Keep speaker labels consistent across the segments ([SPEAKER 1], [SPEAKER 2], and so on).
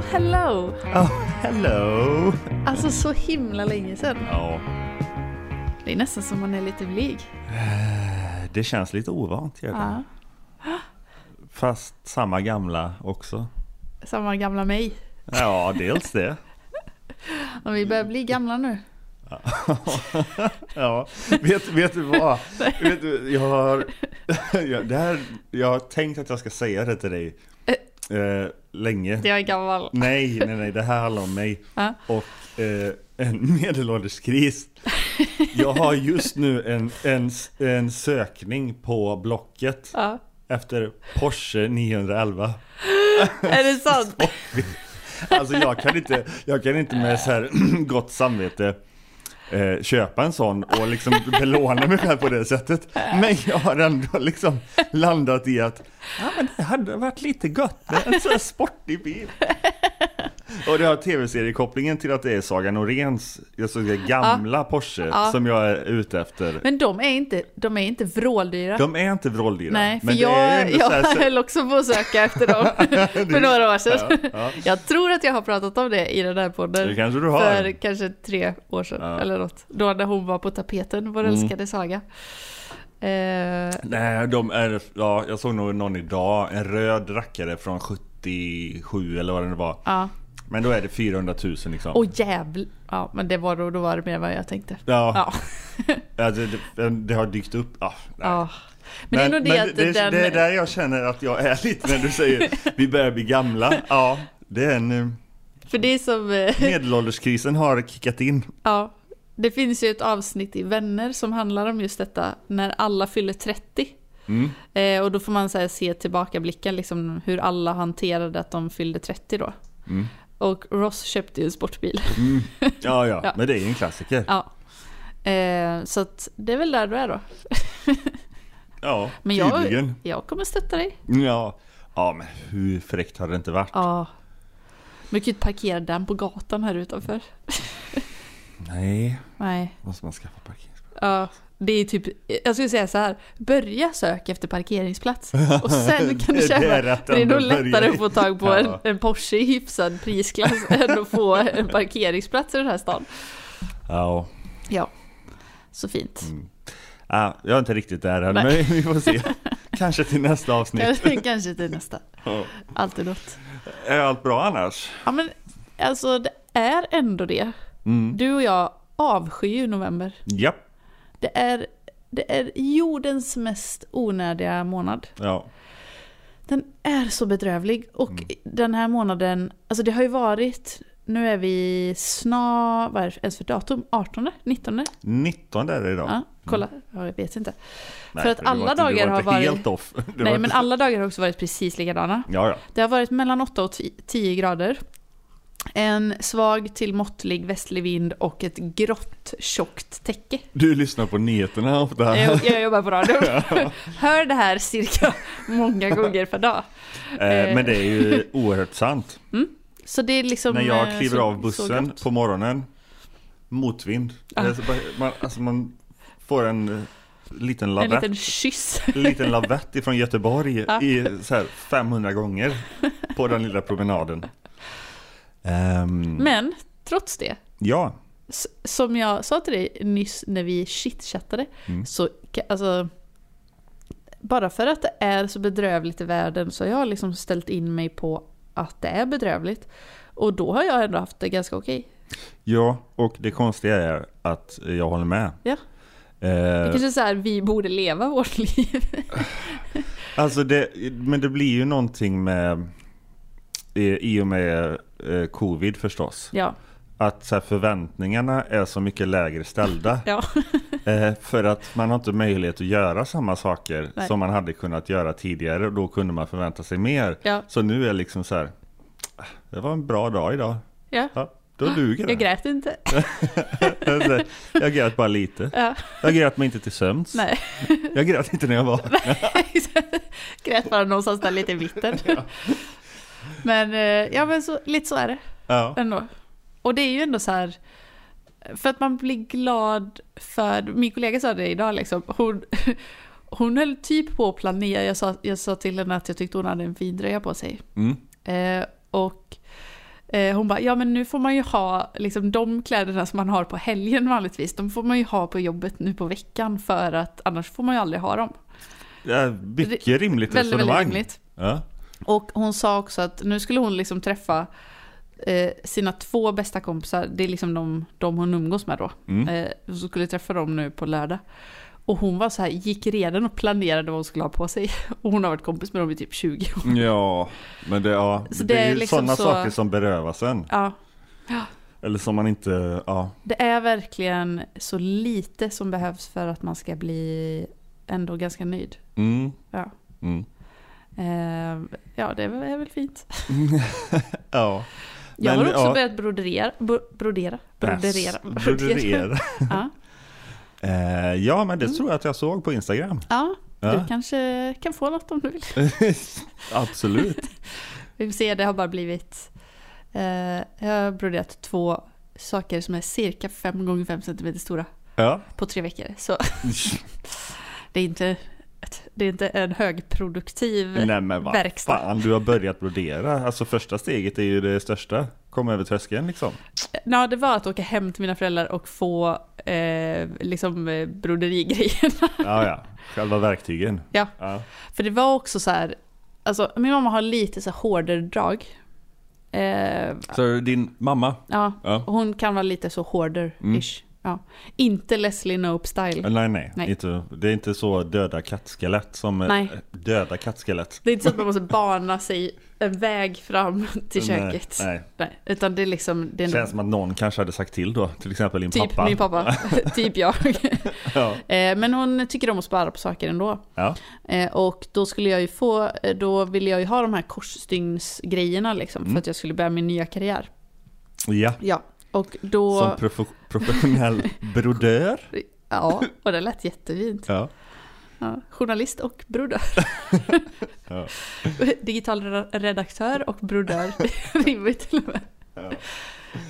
[SPEAKER 1] hello!
[SPEAKER 2] Oh, hello!
[SPEAKER 1] Alltså så himla länge sedan.
[SPEAKER 2] Ja,
[SPEAKER 1] Det är nästan som man är lite blyg.
[SPEAKER 2] det känns lite ovant. Gör det.
[SPEAKER 1] Ja.
[SPEAKER 2] Fast samma gamla också.
[SPEAKER 1] Samma gamla mig.
[SPEAKER 2] Ja, dels det.
[SPEAKER 1] Men vi börjar bli gamla nu.
[SPEAKER 2] Ja, vet, vet du vad? Vet du, jag, har, jag, det här, jag har tänkt att jag ska säga det till dig eh, länge.
[SPEAKER 1] Jag är gammal.
[SPEAKER 2] Nej, nej, nej, det här handlar om mig
[SPEAKER 1] Ja.
[SPEAKER 2] och eh, en medelålderskris. Jag har just nu en, en, en sökning på Blocket
[SPEAKER 1] Ja.
[SPEAKER 2] efter Porsche 911.
[SPEAKER 1] Är det sant?
[SPEAKER 2] Alltså jag kan inte, jag kan inte med så här gott samvete eh, köpa en sån och liksom belåna mig själv på det sättet. Men jag har ändå liksom landat i att ja, men det hade varit lite gött med en sån här sportig bil. Och det har tv-seriekopplingen till att det är Saga Noréns alltså det gamla Porsche
[SPEAKER 1] Ja.
[SPEAKER 2] som jag är ute efter.
[SPEAKER 1] Men de är inte, de är inte vråldyra.
[SPEAKER 2] De är inte vråldyra.
[SPEAKER 1] Nej, för
[SPEAKER 2] men det är
[SPEAKER 1] jag,
[SPEAKER 2] ju ändå så
[SPEAKER 1] jag
[SPEAKER 2] här-
[SPEAKER 1] höll också på att söka efter dem för några år sedan.
[SPEAKER 2] Ja, ja.
[SPEAKER 1] Jag tror att jag har pratat om det i den här podden.
[SPEAKER 2] Det kanske du har.
[SPEAKER 1] För kanske tre år sedan
[SPEAKER 2] Ja. Mm.
[SPEAKER 1] eller något. Då när hon var på tapeten, vår älskade Saga. Eh,
[SPEAKER 2] Nej, de är... Ja, jag såg nog någon idag. En röd rackare från 77 eller vad det nu var.
[SPEAKER 1] ja.
[SPEAKER 2] Men då är det 400 000 liksom.
[SPEAKER 1] Åh jävlar. Ja, men det var då, då var det mer än vad jag tänkte.
[SPEAKER 2] Ja,
[SPEAKER 1] Ja.
[SPEAKER 2] Alltså, det, det har dykt upp. Ja, nej.
[SPEAKER 1] ja. Men, det är nog det att
[SPEAKER 2] det,
[SPEAKER 1] den...
[SPEAKER 2] det är där jag känner att jag är lite när du säger vi börjar bli gamla. Ja, det är en... eh,
[SPEAKER 1] För det är som... eh,
[SPEAKER 2] Medelålderskrisen har kickat in.
[SPEAKER 1] Ja. Det finns ju ett avsnitt i Vänner som handlar om just detta. När alla fyller 30.
[SPEAKER 2] Mm.
[SPEAKER 1] Eh, och då får man så här, se tillbakablicken, liksom, hur alla hanterade att de fyllde 30 då.
[SPEAKER 2] Mm.
[SPEAKER 1] Och Ross köpte ju en sportbil.
[SPEAKER 2] Ja, ja,
[SPEAKER 1] Ja.
[SPEAKER 2] men det är ju en klassiker.
[SPEAKER 1] ja. Eh, så att det är väl där du är då.
[SPEAKER 2] Ja,
[SPEAKER 1] Men jag,
[SPEAKER 2] tydligen.
[SPEAKER 1] jag kommer stötta dig.
[SPEAKER 2] Ja. ja, men hur fräckt har det inte varit?
[SPEAKER 1] Ja. Men du kan ju inte parkera den på gatan här utanför.
[SPEAKER 2] Nej,
[SPEAKER 1] Nej.
[SPEAKER 2] måste man skaffa parkeringsplats.
[SPEAKER 1] Ja. Det är typ, jag skulle säga så här. Börja sök efter parkeringsplats. Och sen kan du
[SPEAKER 2] Det är
[SPEAKER 1] köpa.
[SPEAKER 2] rätt
[SPEAKER 1] Det är
[SPEAKER 2] ändå
[SPEAKER 1] nog
[SPEAKER 2] att börja
[SPEAKER 1] lättare
[SPEAKER 2] i.
[SPEAKER 1] att få tag på
[SPEAKER 2] Ja.
[SPEAKER 1] en, en Porsche i hyfsad prisklass än att få en parkeringsplats i den här stan.
[SPEAKER 2] Ja.
[SPEAKER 1] Ja. Så fint.
[SPEAKER 2] Ah, jag är inte riktigt där än, men
[SPEAKER 1] Nej.
[SPEAKER 2] vi får se. Kanske till nästa avsnitt.
[SPEAKER 1] Kanske, kanske till nästa.
[SPEAKER 2] Ja.
[SPEAKER 1] Alltid något.
[SPEAKER 2] Är allt bra annars?
[SPEAKER 1] Ja men alltså det är ändå det.
[SPEAKER 2] Mm.
[SPEAKER 1] Du och jag avskyr ju november.
[SPEAKER 2] Japp.
[SPEAKER 1] Det är, det är jordens mest onödiga månad.
[SPEAKER 2] Ja.
[SPEAKER 1] Den är så bedrövlig. Och den här månaden, alltså det har ju varit, nu är vi snar, vad är det ens för datum? 18? 19?
[SPEAKER 2] 19 är det idag.
[SPEAKER 1] Ja, Mm. kolla. Ja, jag vet inte.
[SPEAKER 2] Nej,
[SPEAKER 1] för att
[SPEAKER 2] du var
[SPEAKER 1] alla
[SPEAKER 2] inte-
[SPEAKER 1] dagar
[SPEAKER 2] du var
[SPEAKER 1] har
[SPEAKER 2] inte
[SPEAKER 1] varit-
[SPEAKER 2] helt off. Du var
[SPEAKER 1] Nej men
[SPEAKER 2] inte-
[SPEAKER 1] alla dagar har också varit precis likadana.
[SPEAKER 2] Ja, ja.
[SPEAKER 1] Det har varit mellan 8 och 10 grader. En svag till måttlig västlig vind och ett grått tjockt täcke.
[SPEAKER 2] Du lyssnar på nyheterna ofta.
[SPEAKER 1] Jag, jag jobbar på radio. Hör det här cirka många gånger per dag.
[SPEAKER 2] Eh, men det är ju oerhört sant.
[SPEAKER 1] Så det är liksom...
[SPEAKER 2] När
[SPEAKER 1] eh,
[SPEAKER 2] jag kliver
[SPEAKER 1] så-
[SPEAKER 2] av
[SPEAKER 1] så
[SPEAKER 2] bussen
[SPEAKER 1] grått.
[SPEAKER 2] på morgonen, motvind.
[SPEAKER 1] Ah.
[SPEAKER 2] Alltså, bara- man, alltså man får en eh, liten
[SPEAKER 1] en
[SPEAKER 2] lavett.
[SPEAKER 1] liten kyss.
[SPEAKER 2] liten lavett ifrån Göteborg
[SPEAKER 1] Ja.
[SPEAKER 2] i så här 500 gånger på den lilla promenaden. Ehm,
[SPEAKER 1] Men trots det,
[SPEAKER 2] ja,
[SPEAKER 1] s- som jag sa till dig nyss när vi chitchattade,
[SPEAKER 2] Mm.
[SPEAKER 1] så ka- alltså... Bara för att det är så bedrövligt i världen så har jag liksom ställt in mig på att det är bedrövligt. Och då har jag ändå haft det ganska okej.
[SPEAKER 2] ja, och det konstiga är att jag håller med.
[SPEAKER 1] Ja. Det
[SPEAKER 2] Eh,
[SPEAKER 1] kanske är så här, vi borde leva vårt liv.
[SPEAKER 2] alltså det, men det blir ju någonting med i i och med eh, covid förstås.
[SPEAKER 1] Ja.
[SPEAKER 2] Att så här, förväntningarna är så mycket lägre ställda.
[SPEAKER 1] ja.
[SPEAKER 2] Eh, för att man har inte möjlighet att göra samma saker
[SPEAKER 1] Nej.
[SPEAKER 2] som man hade kunnat göra tidigare och då kunde man förvänta sig mer.
[SPEAKER 1] Ja.
[SPEAKER 2] Så nu är det liksom så här, "Ah, det var en bra dag idag.
[SPEAKER 1] ja.
[SPEAKER 2] Ja, då duger
[SPEAKER 1] Ah, Jag
[SPEAKER 2] det.
[SPEAKER 1] grät inte.
[SPEAKER 2] Jag, jag grät bara lite.
[SPEAKER 1] Ja.
[SPEAKER 2] Jag grät mig inte till sömns.
[SPEAKER 1] Nej.
[SPEAKER 2] Jag grät inte när jag var.
[SPEAKER 1] grät bara någonstans där lite i mitten. Men, eh, ja, men så, lite så är det
[SPEAKER 2] Ja.
[SPEAKER 1] ändå. Och det är ju ändå så här, för att man blir glad för, min kollega sa det idag liksom, hon, hon höll typ på att planera, jag sa, jag sa till henne att jag tyckte hon hade en fin dröja på sig.
[SPEAKER 2] Mm.
[SPEAKER 1] Eh, och Eh, hon bara, ja men nu får man ju ha liksom, de kläderna som man har på helgen vanligtvis, de får man ju ha på jobbet nu på veckan för att annars får man ju aldrig ha dem.
[SPEAKER 2] Ja, mycket
[SPEAKER 1] Väldigt, väldigt
[SPEAKER 2] rimligt resonemang.
[SPEAKER 1] rimligt.
[SPEAKER 2] Ja.
[SPEAKER 1] Och hon sa också att nu skulle hon liksom träffa eh, sina två bästa kompisar, det är liksom de, de hon umgås med då.
[SPEAKER 2] Mm.
[SPEAKER 1] Eh, hon skulle träffa dem nu på lördag. Och hon var så här, gick redan och planerade vad hon skulle ha på sig. Och hon har varit kompis med dem i typ 20 år.
[SPEAKER 2] ja, men det, ja,
[SPEAKER 1] Så
[SPEAKER 2] det
[SPEAKER 1] det
[SPEAKER 2] är
[SPEAKER 1] är
[SPEAKER 2] ju
[SPEAKER 1] liksom
[SPEAKER 2] sådana
[SPEAKER 1] så-
[SPEAKER 2] saker som berövas en.
[SPEAKER 1] Ja,
[SPEAKER 2] Eller som man inte, ja.
[SPEAKER 1] det är verkligen så lite som behövs för att man ska bli ändå ganska nöjd.
[SPEAKER 2] Mm.
[SPEAKER 1] Ja.
[SPEAKER 2] Mm.
[SPEAKER 1] Eh, ja, det är väl- är väl fint.
[SPEAKER 2] Ja.
[SPEAKER 1] Jag
[SPEAKER 2] Men,
[SPEAKER 1] har också
[SPEAKER 2] ja. Äh,
[SPEAKER 1] börjat brodera. bro- Brodera? Brodera?
[SPEAKER 2] Bäst. Broderera.
[SPEAKER 1] ja.
[SPEAKER 2] Eh, ja, men det
[SPEAKER 1] Mm.
[SPEAKER 2] tror jag att jag såg på Instagram.
[SPEAKER 1] ja,
[SPEAKER 2] Ja.
[SPEAKER 1] du kanske kan få något om du vill.
[SPEAKER 2] Absolut.
[SPEAKER 1] Vi får se, det har bara blivit... Eh, jag har broderat två saker som är cirka 5 gånger 5 cm stora
[SPEAKER 2] Ja.
[SPEAKER 1] på tre veckor. Så det är inte, ett- det är inte en högproduktiv...
[SPEAKER 2] Nej men vad
[SPEAKER 1] Verkstad.
[SPEAKER 2] fan, du har börjat brodera. Alltså första steget är ju det största. Kom över tröskeln liksom.
[SPEAKER 1] Ja, det var att åka hem till mina föräldrar och få eh, liksom eh, broderigrejerna.
[SPEAKER 2] Ja, ja. Själva verktygen.
[SPEAKER 1] Ja.
[SPEAKER 2] ja.
[SPEAKER 1] För det var också så här... Alltså, min mamma har lite så här hårdare drag. Eh,
[SPEAKER 2] Så din mamma?
[SPEAKER 1] ja,
[SPEAKER 2] Ja. Mm.
[SPEAKER 1] hon kan vara lite så hårdare-ish. Ja. Inte Leslie Knope-style.
[SPEAKER 2] Nej, nej.
[SPEAKER 1] Nej.
[SPEAKER 2] Inte, det är inte så döda kattskelett som
[SPEAKER 1] Nej.
[SPEAKER 2] eh, döda kattskelett.
[SPEAKER 1] Det är inte så att man måste bana sig en väg fram till köket. Nej,
[SPEAKER 2] eh, Nej, nej.
[SPEAKER 1] utan det är liksom... Det är en,
[SPEAKER 2] Känns som att någon kanske hade sagt till då. Till exempel din
[SPEAKER 1] typ
[SPEAKER 2] pappa.
[SPEAKER 1] min pappa. typ jag.
[SPEAKER 2] Ja.
[SPEAKER 1] Eh, Men hon tycker om att spara på saker ändå.
[SPEAKER 2] Ja.
[SPEAKER 1] Eh, Och då skulle jag ju få... eh, Då ville jag ju ha de här korsstygnsgrejerna liksom.
[SPEAKER 2] Mm.
[SPEAKER 1] För att jag skulle börja min nya karriär.
[SPEAKER 2] ja.
[SPEAKER 1] Ja. Och då...
[SPEAKER 2] Som prof professionell brodör.
[SPEAKER 1] Ja, och det lät jättefint.
[SPEAKER 2] Ja.
[SPEAKER 1] Ja, journalist och brodör.
[SPEAKER 2] Ja.
[SPEAKER 1] Digital re- redaktör och brodör. Rimligt till och med.
[SPEAKER 2] Ja.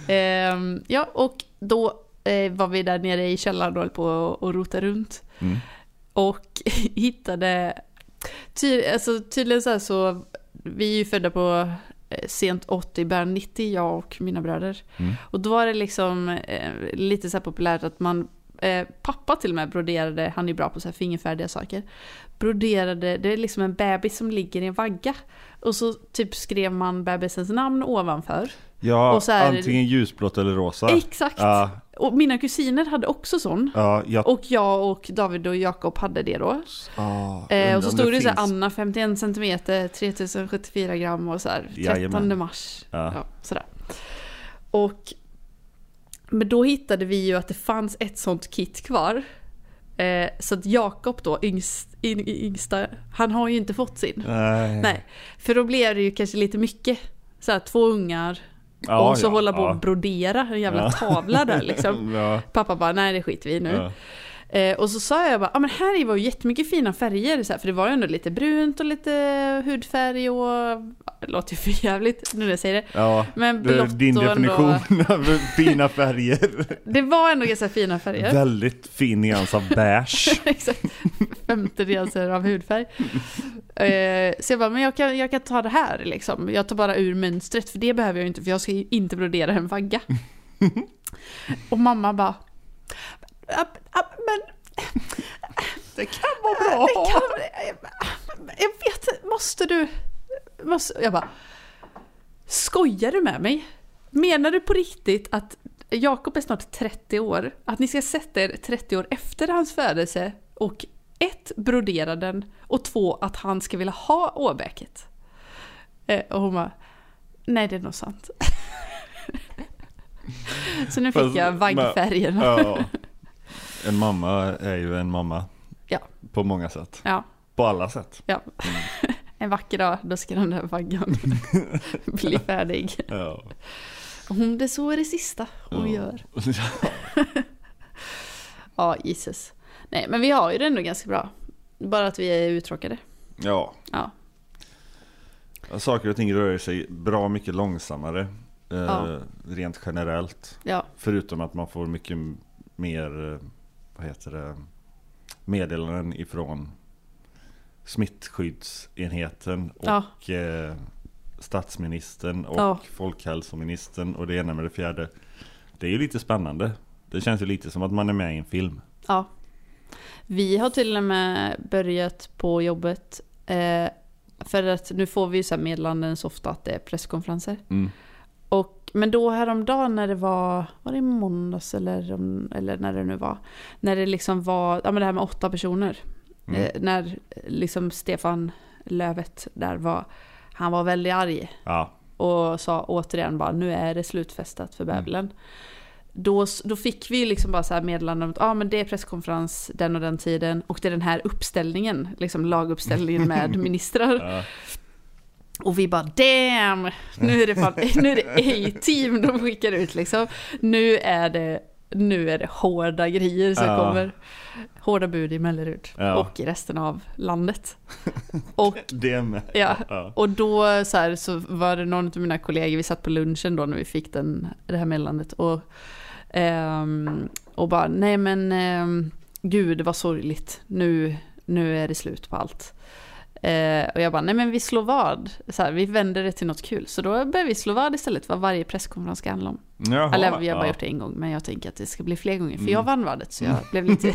[SPEAKER 1] Ehm, ja, och då eh, var vi där nere i källaren och höll på och rotade runt.
[SPEAKER 2] Mm.
[SPEAKER 1] Och hittade... Ty, alltså, tydligen så här så... Vi är ju födda på eh, sent 80, början 90, jag och mina bröder.
[SPEAKER 2] Mm.
[SPEAKER 1] Och då var det liksom eh, lite så här populärt att man... Eh, pappa till och med broderade, han är bra på så här fingerfärdiga saker. Broderade, det är liksom en bebis som ligger i en vagga. Och så typ skrev man bebisens namn ovanför.
[SPEAKER 2] Ja,
[SPEAKER 1] Och så är det-
[SPEAKER 2] antingen ljusblått eller rosa.
[SPEAKER 1] Exakt!
[SPEAKER 2] Ja,
[SPEAKER 1] Och mina kusiner hade också sån.
[SPEAKER 2] ja, jag...
[SPEAKER 1] Och jag och David och Jakob hade det då.
[SPEAKER 2] Ah,
[SPEAKER 1] Eh,
[SPEAKER 2] undrar
[SPEAKER 1] och så
[SPEAKER 2] om
[SPEAKER 1] stod det, så här
[SPEAKER 2] finns-
[SPEAKER 1] Anna 51 cm, 3074 gram och så här 13
[SPEAKER 2] Jajamän.
[SPEAKER 1] mars.
[SPEAKER 2] Ja.
[SPEAKER 1] Ja. sådär. Och men då hittade vi ju att det fanns ett sånt kit kvar. Eh, så att Jakob då, yngst, yng- yngsta, han har ju inte fått sin.
[SPEAKER 2] Nej.
[SPEAKER 1] Nej, för då blev det ju kanske lite mycket. Så här, två ungar
[SPEAKER 2] Ja,
[SPEAKER 1] och så
[SPEAKER 2] ja,
[SPEAKER 1] hålla på och
[SPEAKER 2] ja.
[SPEAKER 1] brodera en jävla
[SPEAKER 2] Ja.
[SPEAKER 1] tavla där liksom.
[SPEAKER 2] Ja,
[SPEAKER 1] Pappa bara, nej det skiter vi i nu.
[SPEAKER 2] ja.
[SPEAKER 1] Eh, och så sa jag bara, ah, men här i var ju jättemycket fina färger, så här, för det var ju ändå lite brunt och lite hudfärg och... Det låter ju för jävligt nu när jag säger det.
[SPEAKER 2] ja.
[SPEAKER 1] Men
[SPEAKER 2] Det är
[SPEAKER 1] blått
[SPEAKER 2] Din
[SPEAKER 1] och
[SPEAKER 2] definition
[SPEAKER 1] ändå...
[SPEAKER 2] av fina färger.
[SPEAKER 1] Det var ändå ganska fina färger.
[SPEAKER 2] Väldigt fin nyans av beige.
[SPEAKER 1] Exakt. Femte nyanser av hudfärg.
[SPEAKER 2] Mm.
[SPEAKER 1] Eh, så jag bara, men jag kan, jag kan ta det här liksom. Jag tar bara ur mönstret, för det behöver jag ju inte, för jag ska ju inte brodera en vagga. och mamma bara... "Ah, ah, Men
[SPEAKER 2] Det kan vara bra.
[SPEAKER 1] Det kan, jag vet inte, måste du... Måste, jag bara... Skojar du med mig? Menar du på riktigt att Jakob är snart 30 år, att ni ska sätta er 30 år efter hans födelse och ett, brodera den och två, att han ska vilja ha åbäket? Eh, och hon bara, nej det är nog sant. Så nu fick
[SPEAKER 2] Fast-
[SPEAKER 1] jag
[SPEAKER 2] men-
[SPEAKER 1] vaggfärgerna.
[SPEAKER 2] Ja. En mamma är ju en mamma.
[SPEAKER 1] Ja.
[SPEAKER 2] På många sätt.
[SPEAKER 1] Ja.
[SPEAKER 2] På alla sätt.
[SPEAKER 1] Ja. En vacker dag, då ska den där vaggan bli färdig.
[SPEAKER 2] Ja.
[SPEAKER 1] Om det så är det sista hon
[SPEAKER 2] Ja.
[SPEAKER 1] gör. Ja, Jesus. Nej, men vi har ju det ändå ganska bra. Bara att vi är uttråkade.
[SPEAKER 2] Ja.
[SPEAKER 1] Ja.
[SPEAKER 2] Saker och ting rör sig bra mycket långsammare. Eh, Rent generellt.
[SPEAKER 1] Ja,
[SPEAKER 2] Förutom att man får mycket mer, eh, vad heter det, meddelanden ifrån smittskyddsenheten och
[SPEAKER 1] Ja.
[SPEAKER 2] eh, statsministern och
[SPEAKER 1] Ja.
[SPEAKER 2] folkhälsoministern och det ena med det fjärde. Det är ju lite spännande. Det känns ju lite som att man är med i en film.
[SPEAKER 1] Ja. Vi har till och med börjat på jobbet. Eh, för att nu får vi ju så här meddelanden så ofta att det är presskonferenser.
[SPEAKER 2] Mm.
[SPEAKER 1] Och, men då häromdagen när det var, var det i måndags eller, om- eller när det nu var. När det liksom var, ja men det här med åtta personer.
[SPEAKER 2] Mm.
[SPEAKER 1] Eh, när liksom Stefan Lövet där var, han var väldigt arg
[SPEAKER 2] Ja,
[SPEAKER 1] och sa återigen bara nu är det slutfestat
[SPEAKER 2] Mm.
[SPEAKER 1] för Babylon. Då, då fick vi ju liksom bara så här meddelande om att ah, men det är presskonferens den och den tiden och det är den här uppställningen, liksom laguppställningen med ministrar.
[SPEAKER 2] ja.
[SPEAKER 1] Och vi bara damn, nu är det fan, nu är det A-team de skickar ut liksom. Nu är det, nu är det hårda grejer som
[SPEAKER 2] Ja.
[SPEAKER 1] kommer. Hårda bud i Mellerud
[SPEAKER 2] Ja.
[SPEAKER 1] och i resten av landet. Och
[SPEAKER 2] det med.
[SPEAKER 1] Ja.
[SPEAKER 2] Ja.
[SPEAKER 1] Och då så, här, så var det någon av mina kollegor, vi satt på lunchen då när vi fick den, det här meddelandet och, ehm, och bara nej men ehm, gud vad sorgligt, nu, nu är det slut på allt. Eh, och jag bara nej men vi slår vad, så här, vi vänder det till något kul. Så då började vi slå vad istället vad varje presskonferens ska handla om.
[SPEAKER 2] Jaha,
[SPEAKER 1] Eller vi har bara
[SPEAKER 2] ja.
[SPEAKER 1] gjort det en gång men jag tänker att det ska bli fler gånger för
[SPEAKER 2] Mm.
[SPEAKER 1] jag vann vadet så jag blev lite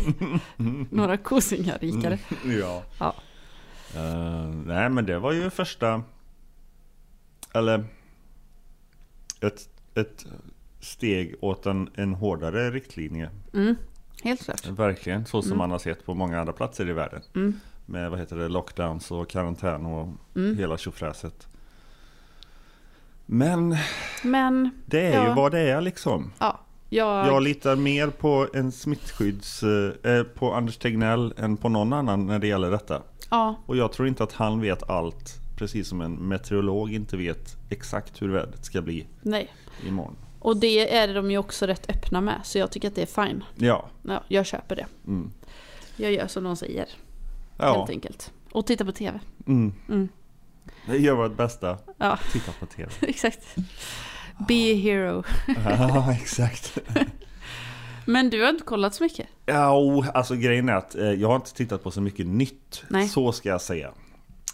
[SPEAKER 1] några kosingar
[SPEAKER 2] Mm.
[SPEAKER 1] rikare.
[SPEAKER 2] Ja.
[SPEAKER 1] Ja.
[SPEAKER 2] Eh, nej men det var ju första Eller Ett, ett steg åt en, en hårdare riktlinje
[SPEAKER 1] Mm, helt klart.
[SPEAKER 2] Verkligen så som
[SPEAKER 1] Mm.
[SPEAKER 2] man har sett på många andra platser i världen
[SPEAKER 1] Mm,
[SPEAKER 2] Med vad heter det lockdowns och karantän och
[SPEAKER 1] mm.
[SPEAKER 2] hela tjofräset Men
[SPEAKER 1] Men
[SPEAKER 2] det är
[SPEAKER 1] Ja.
[SPEAKER 2] ju vad det är liksom Jag litar mer på en smittskydds eh, På Anders Tegnell än på någon annan när det gäller detta
[SPEAKER 1] Ja,
[SPEAKER 2] Och jag tror inte att han vet allt, precis som en meteorolog inte vet exakt hur vädret ska bli
[SPEAKER 1] nej.
[SPEAKER 2] imorgon.
[SPEAKER 1] Och det är de ju också rätt öppna med, så jag tycker att det är fine.
[SPEAKER 2] Ja,
[SPEAKER 1] Ja, jag köper det.
[SPEAKER 2] mm.
[SPEAKER 1] Jag gör som de säger,
[SPEAKER 2] ja.
[SPEAKER 1] helt enkelt. Och titta på TV.
[SPEAKER 2] Mm.
[SPEAKER 1] Mm.
[SPEAKER 2] Det gör vårt bästa.
[SPEAKER 1] Ja.
[SPEAKER 2] Titta på TV.
[SPEAKER 1] Exakt. Be a hero.
[SPEAKER 2] ja, exakt.
[SPEAKER 1] Men du har inte kollat så mycket?
[SPEAKER 2] Ja, och, alltså grejen är att eh, jag har inte tittat på så mycket nytt.
[SPEAKER 1] Nej.
[SPEAKER 2] Så ska jag säga.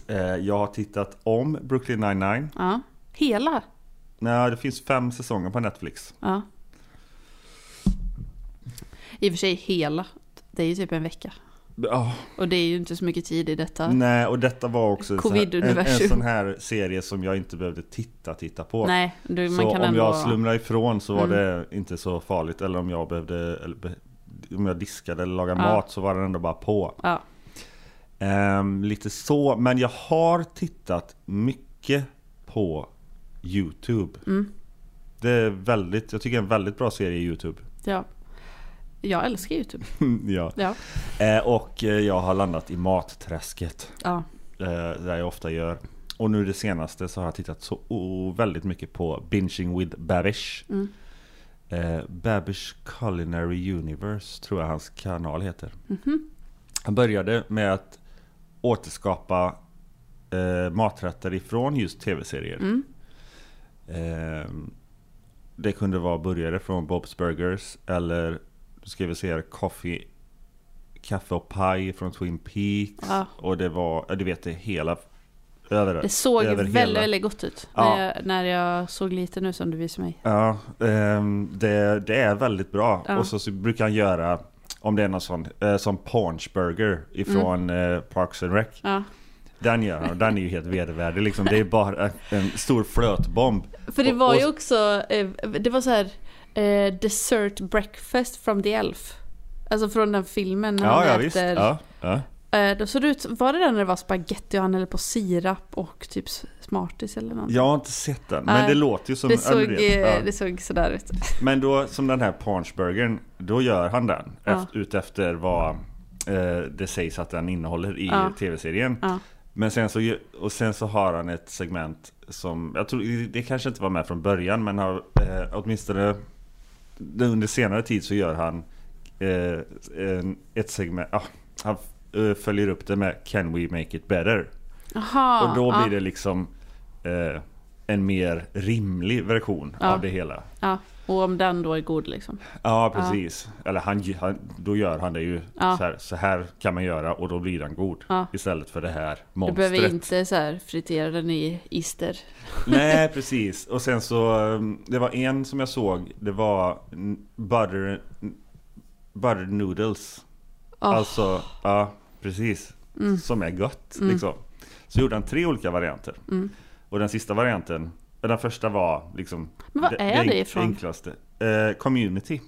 [SPEAKER 2] Eh, jag har tittat om Brooklyn 99.
[SPEAKER 1] Ja. Hela?
[SPEAKER 2] Nej, det finns fem säsonger på Netflix.
[SPEAKER 1] Ja. I och för sig hela. Det är ju typ en vecka.
[SPEAKER 2] Ja,
[SPEAKER 1] Och det är ju inte så mycket tid i detta.
[SPEAKER 2] Nej, och detta var också en sån, här, en, en
[SPEAKER 1] Covid-universum.
[SPEAKER 2] sån här serie som jag inte behövde titta, titta på.
[SPEAKER 1] Nej, du, man
[SPEAKER 2] Så
[SPEAKER 1] kan
[SPEAKER 2] om
[SPEAKER 1] ändå...
[SPEAKER 2] jag slumrade ifrån så var
[SPEAKER 1] Mm.
[SPEAKER 2] det inte så farligt Eller om jag behövde eller be, Om jag diskade eller lagade
[SPEAKER 1] Ja.
[SPEAKER 2] mat så var den ändå bara på
[SPEAKER 1] Ja.
[SPEAKER 2] Ehm, Lite så, men jag har tittat mycket på Youtube
[SPEAKER 1] Mm.
[SPEAKER 2] Det är väldigt, jag tycker det är en väldigt bra serie Youtube
[SPEAKER 1] ja. Jag älskar YouTube.
[SPEAKER 2] ja.
[SPEAKER 1] Ja.
[SPEAKER 2] Eh, Och eh, jag har landat i matträsket
[SPEAKER 1] Ja.
[SPEAKER 2] eh, Där jag ofta gör Och nu det senaste så har jag tittat så oh, väldigt mycket på Binging with Babish
[SPEAKER 1] Mm.
[SPEAKER 2] Eh, Babish Culinary Universe tror jag hans kanal heter.
[SPEAKER 1] Mhm.
[SPEAKER 2] Han började med att återskapa eh, maträtter ifrån just tv-serier.
[SPEAKER 1] Mm.
[SPEAKER 2] Eh, det kunde vara burgare från Bob's Burgers eller du ska vi se här, coffee, kaffe och paj från Twin Peaks.
[SPEAKER 1] Ja.
[SPEAKER 2] Och det var, ja, du vet det hela, överallt.
[SPEAKER 1] Det såg
[SPEAKER 2] över
[SPEAKER 1] väldigt,
[SPEAKER 2] hela-
[SPEAKER 1] väldigt gott ut.
[SPEAKER 2] Ja.
[SPEAKER 1] När, jag, när jag såg lite nu som du visade mig.
[SPEAKER 2] Ja, ehm, det, det är väldigt bra.
[SPEAKER 1] Ja.
[SPEAKER 2] Och så, så brukar han göra, om det är någon sån, eh, som Paunch Burger ifrån
[SPEAKER 1] Mm.
[SPEAKER 2] eh, Parks and Rec.
[SPEAKER 1] Ja.
[SPEAKER 2] Den gör han och den är ju helt vedervärdig liksom. Det är bara en stor flötbomb.
[SPEAKER 1] För det
[SPEAKER 2] Och-
[SPEAKER 1] var
[SPEAKER 2] och-
[SPEAKER 1] ju också, eh, det var så här eh, dessert breakfast from the elf. Alltså från den filmen när
[SPEAKER 2] Ja,
[SPEAKER 1] han
[SPEAKER 2] ja visst.
[SPEAKER 1] äter.
[SPEAKER 2] Ja, ja.
[SPEAKER 1] Eh, då såg det ut, var det den när det var spaghetti och han hällde på sirap och typ s- smarties eller något?
[SPEAKER 2] Jag har inte sett den, men
[SPEAKER 1] Nej.
[SPEAKER 2] det låter ju som...
[SPEAKER 1] det,
[SPEAKER 2] ja, du
[SPEAKER 1] såg,
[SPEAKER 2] vet.
[SPEAKER 1] eh,
[SPEAKER 2] Ja.
[SPEAKER 1] det såg sådär ut.
[SPEAKER 2] Men då, som den här Paunch Burgern, då gör han den.
[SPEAKER 1] Ja.
[SPEAKER 2] Eft- Utefter vad eh, det sägs att den innehåller i
[SPEAKER 1] Ja.
[SPEAKER 2] tv-serien.
[SPEAKER 1] Ja.
[SPEAKER 2] Men sen så, ju- och sen så har han ett segment som, jag tror det kanske inte var med från början men har, eh, åtminstone det- under senare tid så gör han eh, en, ett segment, ah, han eh, följer upp det med Can we make it better?
[SPEAKER 1] Aha,
[SPEAKER 2] och då blir
[SPEAKER 1] ja.
[SPEAKER 2] det liksom eh, en mer rimlig version
[SPEAKER 1] Ja.
[SPEAKER 2] av det hela.
[SPEAKER 1] Ja. Och om den då är god liksom.
[SPEAKER 2] Ja, precis. Eller han, han, då gör han det ju.
[SPEAKER 1] Ja.
[SPEAKER 2] Så, här, så här kan man göra och då blir den god.
[SPEAKER 1] Ja.
[SPEAKER 2] Istället för det här
[SPEAKER 1] Du
[SPEAKER 2] monstret.
[SPEAKER 1] behöver inte så här fritera den i ister.
[SPEAKER 2] Nej, precis. Och sen så, um, det var en som jag såg. Det var n- butter, n- butter noodles.
[SPEAKER 1] Ah.
[SPEAKER 2] Alltså, ja, precis.
[SPEAKER 1] Mm.
[SPEAKER 2] Som är gött, liksom. Så gjorde han tre olika varianter.
[SPEAKER 1] Mm.
[SPEAKER 2] Och den sista varianten, den första var liksom...
[SPEAKER 1] Men vad är det ifrån?
[SPEAKER 2] enklaste. Eh, community.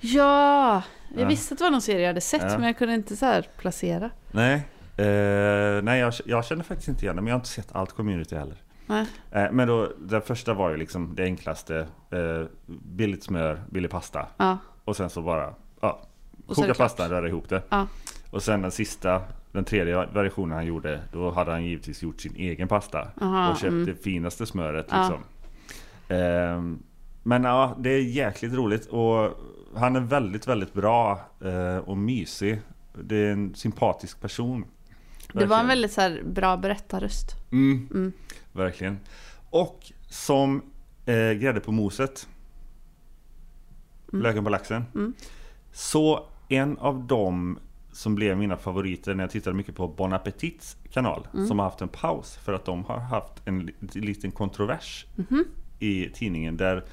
[SPEAKER 1] Ja! Jag
[SPEAKER 2] Ja.
[SPEAKER 1] visste att det var någon serie jag hade sett
[SPEAKER 2] Ja.
[SPEAKER 1] men jag kunde inte så här placera.
[SPEAKER 2] Nej, eh, nej jag, jag känner faktiskt inte igen det, men jag har inte sett allt community heller.
[SPEAKER 1] Nej.
[SPEAKER 2] Eh, men då, den första var ju liksom det enklaste. Eh, billigt smör, billig pasta.
[SPEAKER 1] Ja.
[SPEAKER 2] Och sen så bara ja,
[SPEAKER 1] Och sen är
[SPEAKER 2] koka
[SPEAKER 1] det klart.
[SPEAKER 2] pastan, röra ihop det.
[SPEAKER 1] Ja.
[SPEAKER 2] Och sen den sista, den tredje versionen han gjorde, då hade han givetvis gjort sin egen pasta.
[SPEAKER 1] Aha,
[SPEAKER 2] och köpt
[SPEAKER 1] mm.
[SPEAKER 2] det finaste smöret
[SPEAKER 1] Ja.
[SPEAKER 2] liksom. Ehm, men ja, det är jäkligt roligt och han är väldigt, väldigt bra eh, och mysig. Det är en sympatisk person.
[SPEAKER 1] Det var en
[SPEAKER 2] Verkligen.
[SPEAKER 1] väldigt så här bra berättarröst.
[SPEAKER 2] Mm,
[SPEAKER 1] Mm.
[SPEAKER 2] Verkligen. Och som eh, grädde på moset. Löken på laxen.
[SPEAKER 1] Mm.
[SPEAKER 2] Så en av dem som blev mina favoriter när jag tittade mycket på Bon Appetits kanal.
[SPEAKER 1] Mm.
[SPEAKER 2] Som har haft en paus för att de har haft en li- liten kontrovers
[SPEAKER 1] Mm-hmm.
[SPEAKER 2] i tidningen. Där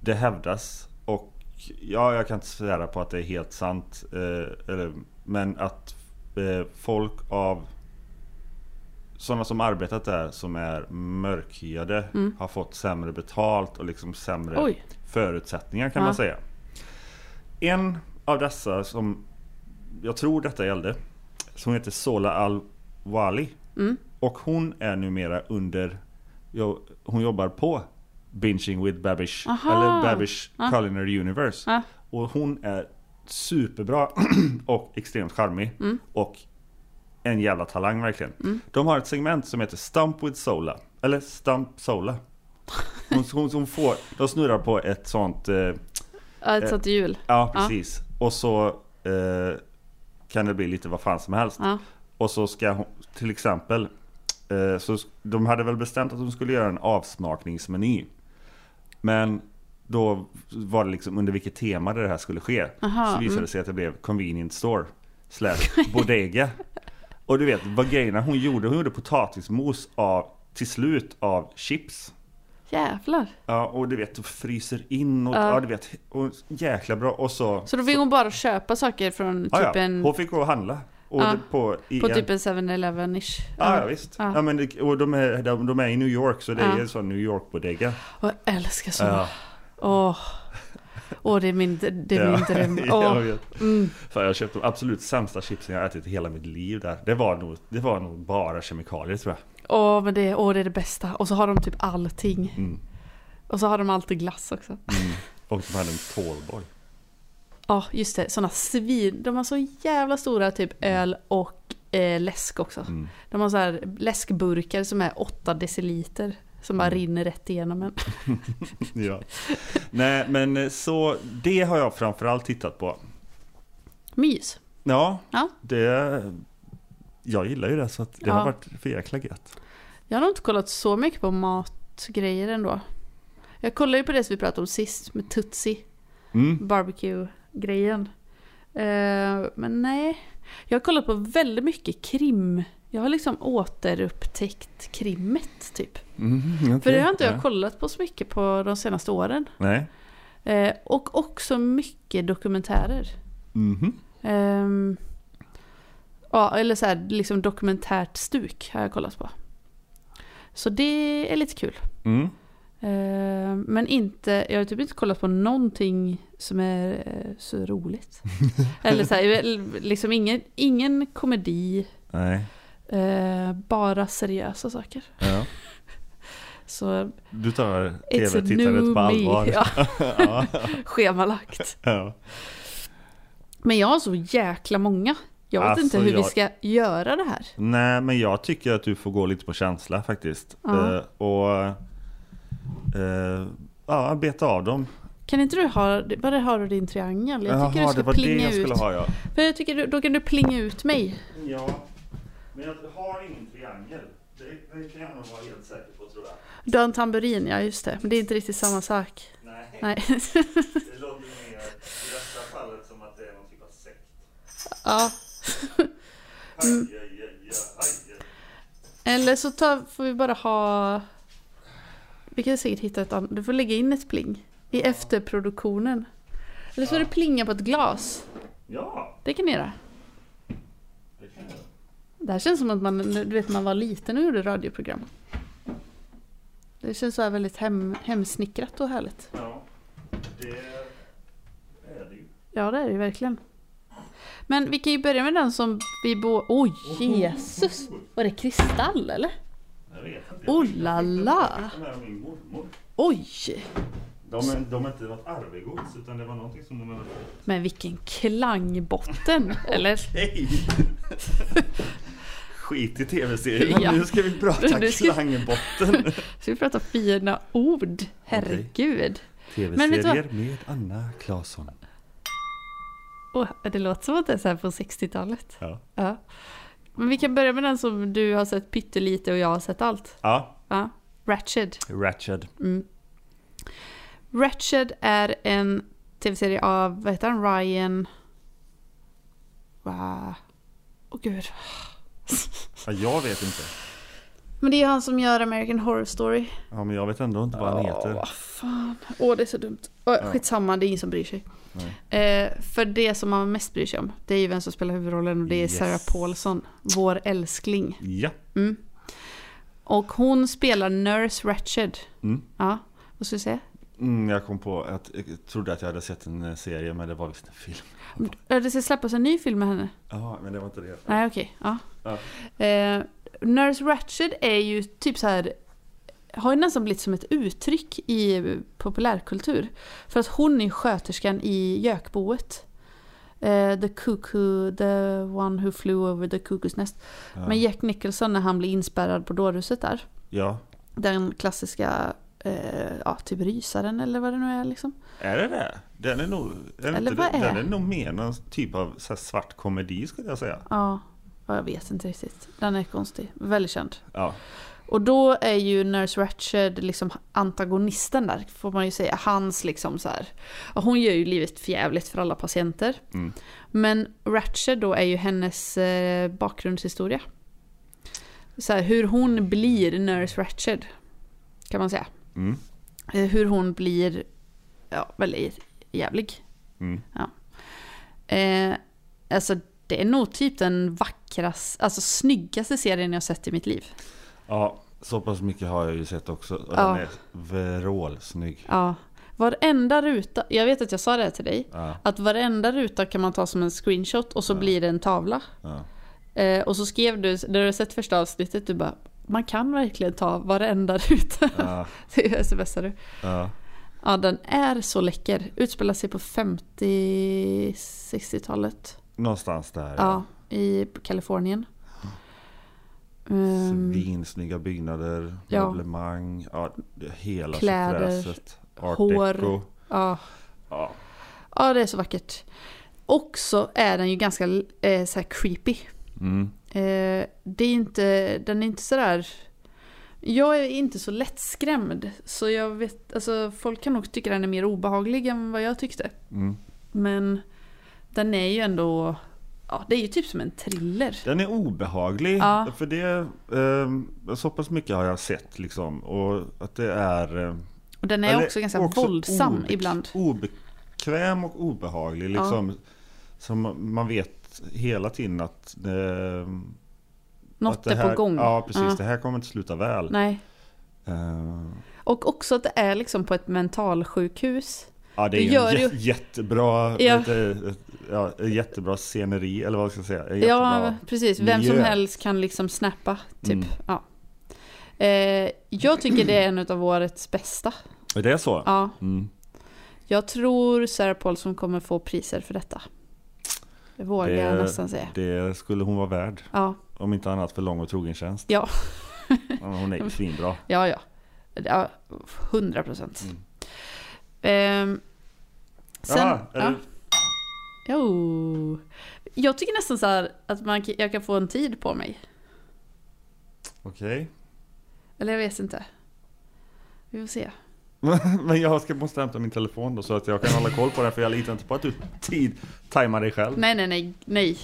[SPEAKER 2] det hävdas och ja, jag kan inte svära på att det är helt sant. Eh, eller, men att eh, folk av sådana som arbetat där som är mörkhyade har fått sämre betalt och liksom sämre
[SPEAKER 1] Mm. Oj.
[SPEAKER 2] förutsättningar kan
[SPEAKER 1] Ja.
[SPEAKER 2] man säga. En av dessa som jag tror detta gällde som heter Sola Al-Wali
[SPEAKER 1] Mm.
[SPEAKER 2] och hon är numera under jo, hon jobbar på Binging with Babish
[SPEAKER 1] Aha.
[SPEAKER 2] eller Babish Culinary Universe
[SPEAKER 1] Ja.
[SPEAKER 2] och hon är superbra och extremt charmig
[SPEAKER 1] Mm.
[SPEAKER 2] och en jävla talang verkligen. De har ett segment som heter Stump with Sola. Eller Stump Sola. Hon, hon, hon får, de snurrar på ett sånt... Eh,
[SPEAKER 1] Ja, ett sånt hjul.
[SPEAKER 2] ja, precis. Och så eh, kan det bli lite vad fan som helst.
[SPEAKER 1] Ja.
[SPEAKER 2] Och så ska hon, till exempel, eh, så sk- de hade väl bestämt att de skulle göra en avsmakningsmeny. Men då var det liksom under vilket tema det här skulle ske.
[SPEAKER 1] Aha, mm.
[SPEAKER 2] så visade det sig att det blev convenience store slash bodega. Och du vet vad grejerna hon gjorde, hon gjorde potatismos av, till slut av chips.
[SPEAKER 1] Jävlar.
[SPEAKER 2] Ja, och du vet, fryser in och,
[SPEAKER 1] Ja.
[SPEAKER 2] ja. du vet, och jäkla bra. Och så,
[SPEAKER 1] Så då fick hon bara köpa saker från typ
[SPEAKER 2] Ah, ja, ja,
[SPEAKER 1] en...
[SPEAKER 2] hon fick gå och handla. Och
[SPEAKER 1] Ja,
[SPEAKER 2] det- på, i
[SPEAKER 1] På
[SPEAKER 2] en-
[SPEAKER 1] typ en 7-Eleven-ish.
[SPEAKER 2] Ah, Ja, ja visst.
[SPEAKER 1] Ja.
[SPEAKER 2] Ja. men det, och de är, de, de är i New York så det
[SPEAKER 1] Ja.
[SPEAKER 2] är en sån New York-bodega.
[SPEAKER 1] Och jag älskar såna.
[SPEAKER 2] Ja.
[SPEAKER 1] Åh. Åh, det är min, det är
[SPEAKER 2] Ja.
[SPEAKER 1] min dröm.
[SPEAKER 2] jag
[SPEAKER 1] Åh. Mm.
[SPEAKER 2] vet. Fan, jag köpte de absolut sämsta chipsen jag ätit i hela mitt liv där. Det var nog, det var nog bara kemikalier tror jag.
[SPEAKER 1] Åh, men det, åh, det är det bästa. Och så har de typ allting.
[SPEAKER 2] Mm.
[SPEAKER 1] Och så har de alltid glass också.
[SPEAKER 2] Mm. Och de hade en tallboy.
[SPEAKER 1] Ja, just det. Såna svin. De har så jävla stora typ öl och eh, läsk också.
[SPEAKER 2] Mm.
[SPEAKER 1] De har så här läskburkar som är 8 deciliter. Som
[SPEAKER 2] Mm.
[SPEAKER 1] bara rinner rätt igenom en.
[SPEAKER 2] Ja. Nej men eh, så det har jag framförallt tittat på.
[SPEAKER 1] Mys.
[SPEAKER 2] Ja,
[SPEAKER 1] Ja.
[SPEAKER 2] det... Jag gillar ju det så att det
[SPEAKER 1] Ja.
[SPEAKER 2] har varit för jäkla gött.
[SPEAKER 1] Jag har nog inte kollat så mycket på matgrejer ändå. Jag kollade ju på det som vi pratade om sist med Tutsi.
[SPEAKER 2] Mm.
[SPEAKER 1] Barbecue-grejen. Eh, men nej. Jag har kollat på väldigt mycket krim. Jag har liksom återupptäckt krimmet typ.
[SPEAKER 2] Mm,
[SPEAKER 1] För
[SPEAKER 2] okej.
[SPEAKER 1] det har inte
[SPEAKER 2] Ja.
[SPEAKER 1] jag kollat på så mycket på de senaste åren.
[SPEAKER 2] Nej.
[SPEAKER 1] Eh, och också mycket dokumentärer.
[SPEAKER 2] Mhm.
[SPEAKER 1] Ehm, ja, eller så här, liksom dokumentärt stuk har jag kollat på. Så det är lite kul.
[SPEAKER 2] Mm.
[SPEAKER 1] Ehm, men inte, jag har typ inte kollat på någonting som är eh, så roligt. eller så här, eller liksom ingen, ingen komedi,
[SPEAKER 2] Nej.
[SPEAKER 1] eh, bara seriösa saker.
[SPEAKER 2] Ja.
[SPEAKER 1] Så
[SPEAKER 2] Du tar
[SPEAKER 1] it's a
[SPEAKER 2] tv-tittandet
[SPEAKER 1] new
[SPEAKER 2] på
[SPEAKER 1] me.
[SPEAKER 2] allvar.
[SPEAKER 1] Ja,
[SPEAKER 2] ja.
[SPEAKER 1] schemalagt.
[SPEAKER 2] Ja.
[SPEAKER 1] Men jag har så jäkla många. Jag vet
[SPEAKER 2] Alltså,
[SPEAKER 1] inte hur vi
[SPEAKER 2] jag-
[SPEAKER 1] ska göra det här.
[SPEAKER 2] Nej men jag tycker att du får gå lite på känsla faktiskt.
[SPEAKER 1] Ja.
[SPEAKER 2] Eh, och eh, ja, beta av dem.
[SPEAKER 1] Kan inte du ha, var har du din triangel? Jag tycker
[SPEAKER 2] Jaha,
[SPEAKER 1] du
[SPEAKER 2] det
[SPEAKER 1] ska
[SPEAKER 2] var det
[SPEAKER 1] plinga
[SPEAKER 2] jag skulle
[SPEAKER 1] ut.
[SPEAKER 2] ha ja.
[SPEAKER 1] För jag tycker du, då kan du plinga ut mig.
[SPEAKER 2] Ja, men jag har ingen triangel. Det, det kan jag nog vara helt säker på tror jag.
[SPEAKER 1] Du har en tamburin, ja just det. Men det är inte riktigt samma sak.
[SPEAKER 2] Nej,
[SPEAKER 1] Nej.
[SPEAKER 2] det låter mer i detta fallet som att det är någon typ av sekt.
[SPEAKER 1] ja. Mm. Eller så tar, får vi bara ha... Vi kan säkert hitta ett annat. Du får lägga in ett pling i efterproduktionen. Eller så är det plinga på ett glas.
[SPEAKER 2] Ja,
[SPEAKER 1] Det kan ni göra.
[SPEAKER 2] det kan jag.
[SPEAKER 1] Det här känns som att man, du vet, man var liten och gjorde radioprogram. Det känns så här väldigt hem, hemsnickrat och härligt.
[SPEAKER 2] Ja, det är det ju.
[SPEAKER 1] Ja, det är det ju verkligen. Men vi kan ju börja med den som vi bo... Oj, Jesus! Var det kristall eller?
[SPEAKER 2] Jag vet inte.
[SPEAKER 1] Oh la la! Alltså.
[SPEAKER 2] De här är min mormor.
[SPEAKER 1] Oj!
[SPEAKER 2] De är, de är inte något arvegods utan det var någonting som de hade fått.
[SPEAKER 1] Men vilken klangbotten! Eller?
[SPEAKER 2] Hej! Skit i tv-serien,
[SPEAKER 1] Ja.
[SPEAKER 2] nu ska vi prata
[SPEAKER 1] Nu ska-
[SPEAKER 2] klangbotten.
[SPEAKER 1] Ska vi prata fina ord? Herregud! Men vet du
[SPEAKER 2] Tv-serier
[SPEAKER 1] vad?
[SPEAKER 2] med Anna Claesson.
[SPEAKER 1] Åh, det låter som att det är så här på 60-talet.
[SPEAKER 2] Ja.
[SPEAKER 1] Ja. Men vi kan börja med den som du har sett pyttelite och jag har sett allt.
[SPEAKER 2] ja,
[SPEAKER 1] Ja. Ratched.
[SPEAKER 2] Ratched.
[SPEAKER 1] Ratched Mm. är en tv-serie av, vad heter han, Ryan... Va? Åh gud.
[SPEAKER 2] Ja, jag vet inte.
[SPEAKER 1] Men det är han som gör American Horror Story.
[SPEAKER 2] Ja, men jag vet ändå inte vad han
[SPEAKER 1] Åh,
[SPEAKER 2] heter.
[SPEAKER 1] vad fan. Åh, det är så dumt. Åh, Skitsamma, det är ingen som bryr sig. Eh, för det som man mest bryr sig om, det är ju vem som spelar huvudrollen och det är
[SPEAKER 2] Yes.
[SPEAKER 1] Sarah Paulson, vår älskling. Mm.
[SPEAKER 2] Ja,
[SPEAKER 1] Och hon spelar Nurse Ratched.
[SPEAKER 2] Mm.
[SPEAKER 1] Ja, vad ska vi säga?
[SPEAKER 2] mm, jag kom på att jag trodde att jag hade sett en eh, serie men det var visst en film.
[SPEAKER 1] Ja, Det ska släppas en ny film med henne.
[SPEAKER 2] Ja, men det var inte det.
[SPEAKER 1] Nej, okej. Ja. Eh, Nurse Ratched är ju typ så här har ju nästan blivit som ett uttryck i populärkultur. För att hon är sköterskan i Jökboet. Eh, the cuckoo, the one who flew over the cuckoo's nest. Men Jack Nicholson när han blir inspärrad på dårhuset där.
[SPEAKER 2] Ja,
[SPEAKER 1] Den klassiska, eh, ja typ rysaren eller vad det nu är liksom.
[SPEAKER 2] är det det? Den är nog, är det
[SPEAKER 1] Eller
[SPEAKER 2] inte,
[SPEAKER 1] vad
[SPEAKER 2] det?
[SPEAKER 1] är
[SPEAKER 2] Den
[SPEAKER 1] det?
[SPEAKER 2] är nog mer någon typ av så här svart komedi skulle jag säga.
[SPEAKER 1] Ja, ja, jag vet inte riktigt. Den är konstig. Väldigt känd.
[SPEAKER 2] Ja,
[SPEAKER 1] Och då är ju Nurse Ratched liksom antagonisten där, får man ju säga. Hans liksom så här. och Hon gör ju livet förjävligt för alla patienter.
[SPEAKER 2] Mm.
[SPEAKER 1] Men Ratched då är ju hennes eh, bakgrundshistoria. Så här, hur hon blir Nurse Ratched, kan man säga.
[SPEAKER 2] mm,
[SPEAKER 1] Eh, Hur hon blir, ja, väldigt jävlig.
[SPEAKER 2] mm.
[SPEAKER 1] Eh, alltså, det är nog typ den vackraste, alltså snyggaste serien jag sett i mitt liv.
[SPEAKER 2] ja så pass mycket har jag ju sett också. Och
[SPEAKER 1] Ja.
[SPEAKER 2] Den är vrålsnygg.
[SPEAKER 1] Ja. Varenda ruta, jag vet att jag sa det här till dig,
[SPEAKER 2] Ja,
[SPEAKER 1] att varenda ruta kan man ta som en screenshot och så blir det en tavla.
[SPEAKER 2] ja.
[SPEAKER 1] Eh, och så skrev du, när du har sett första avsnittet, du bara man kan verkligen ta varenda ruta.
[SPEAKER 2] Ja.
[SPEAKER 1] Det smsar du.
[SPEAKER 2] ja.
[SPEAKER 1] Ja, den är så läcker. Utspelar sig på 50-60-talet.
[SPEAKER 2] Någonstans där.
[SPEAKER 1] Ja, i Kalifornien. Ehm,
[SPEAKER 2] Svinsnygga byggnader,
[SPEAKER 1] Ja.
[SPEAKER 2] möblemang, ja, det- hela
[SPEAKER 1] Kläder,
[SPEAKER 2] fräset. Art
[SPEAKER 1] hår.
[SPEAKER 2] deco.
[SPEAKER 1] ja.
[SPEAKER 2] Ja.
[SPEAKER 1] ja, det är så vackert. Också är den ju ganska eh, så här creepy.
[SPEAKER 2] Mm.
[SPEAKER 1] Eh, det är inte, den är inte sådär... Jag är inte så lättskrämd. Så jag vet, alltså folk kan nog tycka den är mer obehaglig än vad jag tyckte.
[SPEAKER 2] Mm.
[SPEAKER 1] Men den är ju ändå, ja det är ju typ som en thriller.
[SPEAKER 2] Den är obehaglig.
[SPEAKER 1] Ja.
[SPEAKER 2] För det, eh, så pass mycket har jag sett liksom. Och att det är... Eh,
[SPEAKER 1] Och den är
[SPEAKER 2] eller
[SPEAKER 1] också ganska våldsam
[SPEAKER 2] obek-
[SPEAKER 1] ibland.
[SPEAKER 2] Obekväm och obehaglig
[SPEAKER 1] Ja.
[SPEAKER 2] liksom. Som man vet hela tiden att... Eh, att
[SPEAKER 1] Något
[SPEAKER 2] det
[SPEAKER 1] är
[SPEAKER 2] här,
[SPEAKER 1] på gång.
[SPEAKER 2] Ja, precis.
[SPEAKER 1] Ja.
[SPEAKER 2] Det här kommer inte sluta väl.
[SPEAKER 1] Nej.
[SPEAKER 2] Eh,
[SPEAKER 1] Och också att det är liksom på ett mentalsjukhus.
[SPEAKER 2] Ja, det
[SPEAKER 1] Du
[SPEAKER 2] är ju
[SPEAKER 1] gör
[SPEAKER 2] en
[SPEAKER 1] ju-
[SPEAKER 2] jä- jättebra,
[SPEAKER 1] Ja.
[SPEAKER 2] ett, eh, ja, ett jättebra sceneri, eller vad ska jag säga? En
[SPEAKER 1] Ja,
[SPEAKER 2] jättebra-
[SPEAKER 1] precis. Vem som
[SPEAKER 2] miljö. Mm.
[SPEAKER 1] helst kan liksom snappa. Typ. Ja. Eh, jag tycker det är en av årets bästa.
[SPEAKER 2] Är det så?
[SPEAKER 1] Ja.
[SPEAKER 2] Mm.
[SPEAKER 1] Jag tror Sarah Paulson kommer få priser för detta. Det vågar
[SPEAKER 2] Det-
[SPEAKER 1] jag nästan säga.
[SPEAKER 2] Det skulle hon vara värd,
[SPEAKER 1] Ja,
[SPEAKER 2] om inte annat för lång och trogen tjänst.
[SPEAKER 1] Ja.
[SPEAKER 2] Ja, men Hon är ju svinbra.
[SPEAKER 1] ja, ja. Ja, 100 procent.
[SPEAKER 2] Mm.
[SPEAKER 1] Ehm, sen...
[SPEAKER 2] Jaha, är
[SPEAKER 1] ja.
[SPEAKER 2] det-
[SPEAKER 1] Jo. Jag tycker nästan så här att man, kan- jag kan få en tid på mig.
[SPEAKER 2] Okej.
[SPEAKER 1] Eller jag vet inte. Vi får se.
[SPEAKER 2] Men jag ska, måste hämta min telefon då så att jag kan hålla koll på den för jag litar inte på att du tid tajmar dig själv.
[SPEAKER 1] Nej, nej, nej, nej.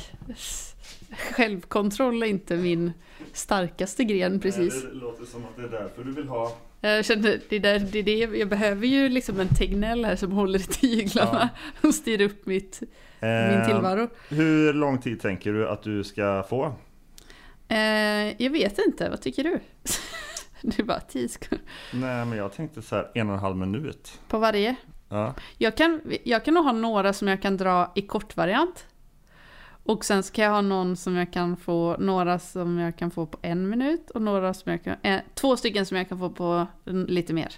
[SPEAKER 1] Självkontroll är inte min starkaste gren precis.
[SPEAKER 2] Det låter som att det är därför du vill ha...
[SPEAKER 1] Jag känner, det där, det är det, jag behöver ju liksom en Tegnell här som håller i tyglarna och styr upp mitt, min tillvaro.
[SPEAKER 2] Eh, Hur lång tid tänker du att du ska få?
[SPEAKER 1] Eh, jag vet inte, vad tycker du? Det är bara tio sekunder.
[SPEAKER 2] Nej men jag tänkte så här en och en halv minut.
[SPEAKER 1] På varje.
[SPEAKER 2] Ja.
[SPEAKER 1] Jag kan, jag kan nog ha några som jag kan dra i kortvariant. Och sen ska jag ha någon som jag kan få, några som jag kan få på en minut och några som jag kan, eh, två stycken som jag kan få på mm, lite mer.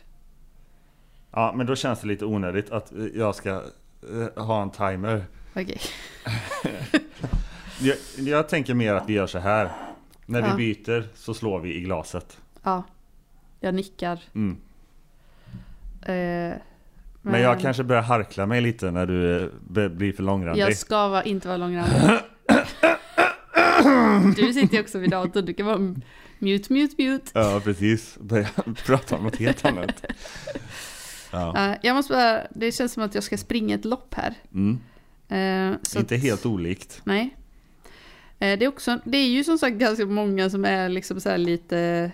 [SPEAKER 2] ja men då känns det lite onödigt att eh, jag ska eh, ha en timer.
[SPEAKER 1] Okej.
[SPEAKER 2] Jag, jag tänker mer att vi gör så här. När
[SPEAKER 1] Ja.
[SPEAKER 2] vi byter så slår vi i glaset.
[SPEAKER 1] Ja. Jag nickar.
[SPEAKER 2] Mm.
[SPEAKER 1] Eh, men, Mm.
[SPEAKER 2] Men jag kanske börjar harkla mig lite när du eh, be- blir för långrandig.
[SPEAKER 1] Jag ska vara, inte vara långrandig. du sitter ju också vid datorn, du kan vara mute, mute, mute.
[SPEAKER 2] Ja precis, börja prata om något helt annat. Ja.
[SPEAKER 1] Eh, jag måste bara, det känns som att jag ska springa ett lopp här.
[SPEAKER 2] Mm.
[SPEAKER 1] Eh, så
[SPEAKER 2] Inte
[SPEAKER 1] att-
[SPEAKER 2] helt olikt.
[SPEAKER 1] Nej. Eh, Det är, också, det är ju som sagt ganska många som är liksom så här lite...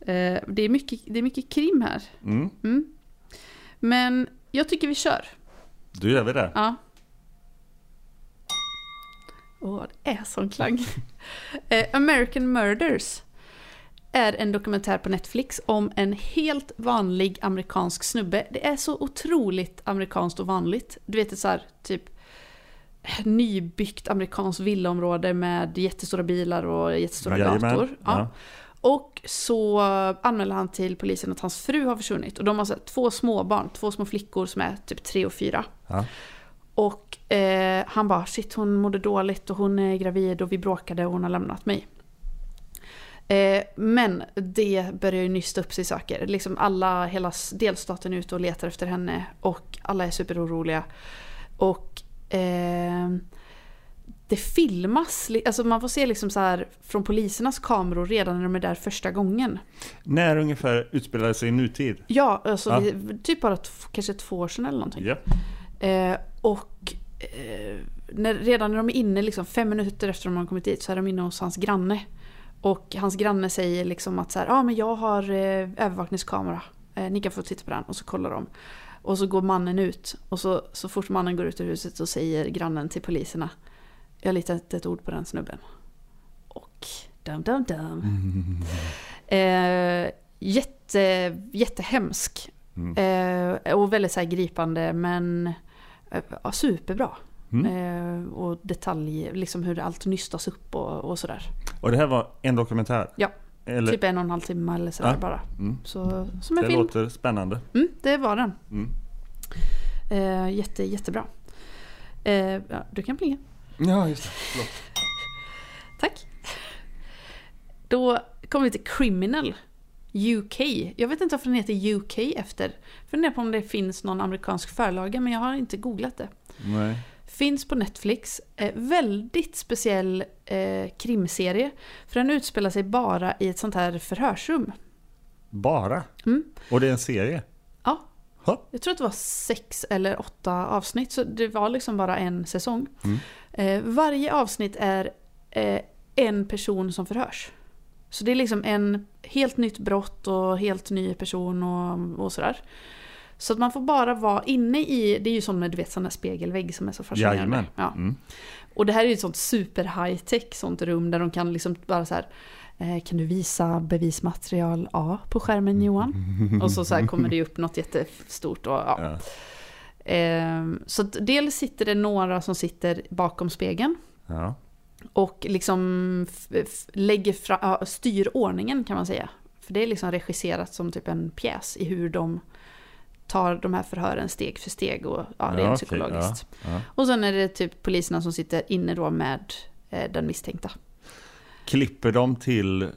[SPEAKER 1] eh, Det är mycket, det är mycket krim här.
[SPEAKER 2] Mm.
[SPEAKER 1] Mm. Men jag tycker vi kör.
[SPEAKER 2] Då gör vi det.
[SPEAKER 1] Ja. Åh, det är sån klang. Eh, American Murders är en dokumentär på Netflix om en helt vanlig amerikansk snubbe. Det är så otroligt amerikanskt och vanligt. Du vet ett så här typ nybyggt amerikanskt villaområde med jättestora bilar och jättestora gator. Ja.
[SPEAKER 2] Ja.
[SPEAKER 1] Och så anmäler han till polisen att hans fru har försvunnit. Och de har så här, två småbarn, två små flickor som är typ tre och fyra.
[SPEAKER 2] Ja.
[SPEAKER 1] Och eh, han bara shit hon mådde dåligt och hon är gravid och vi bråkade och hon har lämnat mig. Eh, men det börjar ju nysta upp sig saker. Liksom alla, hela s- delstaten är ute och letar efter henne och alla är superoroliga. Och eh, det filmas, li- alltså man får se liksom så här från polisernas kameror redan när de är där första gången.
[SPEAKER 2] När ungefär utspelar det sig i nutid?
[SPEAKER 1] Ja, alltså
[SPEAKER 2] Ja.
[SPEAKER 1] Vi, typ bara t- kanske två år sedan eller någonting.
[SPEAKER 2] Ja.
[SPEAKER 1] Eh, och eh, när, redan när de är inne, liksom, fem minuter efter de har kommit dit, så är de inne hos hans granne. Och hans granne säger liksom att så här, ah, men jag har eh, övervakningskamera, eh, ni kan få titta på den. Och så kollar de. Och så går mannen ut. Och så, så fort mannen går ut ur huset så säger grannen till poliserna, jag litar inte ett ord på den snubben. Och dum dum dum. Eh, jätte, jättehemsk.
[SPEAKER 2] Mm.
[SPEAKER 1] Eh, och väldigt så här gripande men eh, ja, superbra.
[SPEAKER 2] Mm.
[SPEAKER 1] Eh, och detalj, liksom hur allt nystas upp och, och sådär.
[SPEAKER 2] Och det här var en dokumentär?
[SPEAKER 1] Ja,
[SPEAKER 2] Eller,
[SPEAKER 1] typ en och en halv timme eller sådär
[SPEAKER 2] Ja.
[SPEAKER 1] bara.
[SPEAKER 2] Mm.
[SPEAKER 1] Så, som en
[SPEAKER 2] Det
[SPEAKER 1] film.
[SPEAKER 2] låter spännande.
[SPEAKER 1] Mm, det var den.
[SPEAKER 2] Mm.
[SPEAKER 1] Eh, jätte, jättebra. Eh, ja, du kan plinga.
[SPEAKER 2] Ja, just det. Förlåt.
[SPEAKER 1] Tack. Då kommer vi till Criminal UK. Jag vet inte varför den heter UK efter. Funderar på om det finns någon amerikansk förlaga men jag har inte googlat det.
[SPEAKER 2] Nej.
[SPEAKER 1] Finns på Netflix. Eh, väldigt speciell eh, krimserie. För den utspelar sig bara i ett sånt här förhörsrum.
[SPEAKER 2] Bara?
[SPEAKER 1] Mm.
[SPEAKER 2] Och det är en serie?
[SPEAKER 1] Ja.
[SPEAKER 2] Ha.
[SPEAKER 1] Jag tror att det var sex eller åtta avsnitt, så det var liksom bara en säsong.
[SPEAKER 2] Mm.
[SPEAKER 1] Eh, varje avsnitt är eh, en person som förhörs. Så det är liksom en helt nytt brott och helt ny person och, och sådär. Så att man får bara vara inne i, det är ju som med du vet sån där spegelvägg som är så fascinerande.
[SPEAKER 2] Jajamän.
[SPEAKER 1] Ja.
[SPEAKER 2] Mm.
[SPEAKER 1] Och det här är ju ett sånt super high tech sånt rum där de kan liksom bara så här eh, kan du visa bevismaterial A på skärmen Johan? Och så, så här kommer det ju upp något jättestort. Och, ja.
[SPEAKER 2] Ja.
[SPEAKER 1] Ehm, Så att dels sitter det några som sitter bakom spegeln
[SPEAKER 2] Ja.
[SPEAKER 1] och liksom f- f- lägger fra, ja, styr ordningen kan man säga. För det är liksom regisserat som typ en pjäs i hur de tar de här förhören steg för steg och ja, rent
[SPEAKER 2] okej,
[SPEAKER 1] psykologiskt.
[SPEAKER 2] ja.
[SPEAKER 1] Och sen är det typ poliserna som sitter inne då med eh, den misstänkta.
[SPEAKER 2] Klipper de till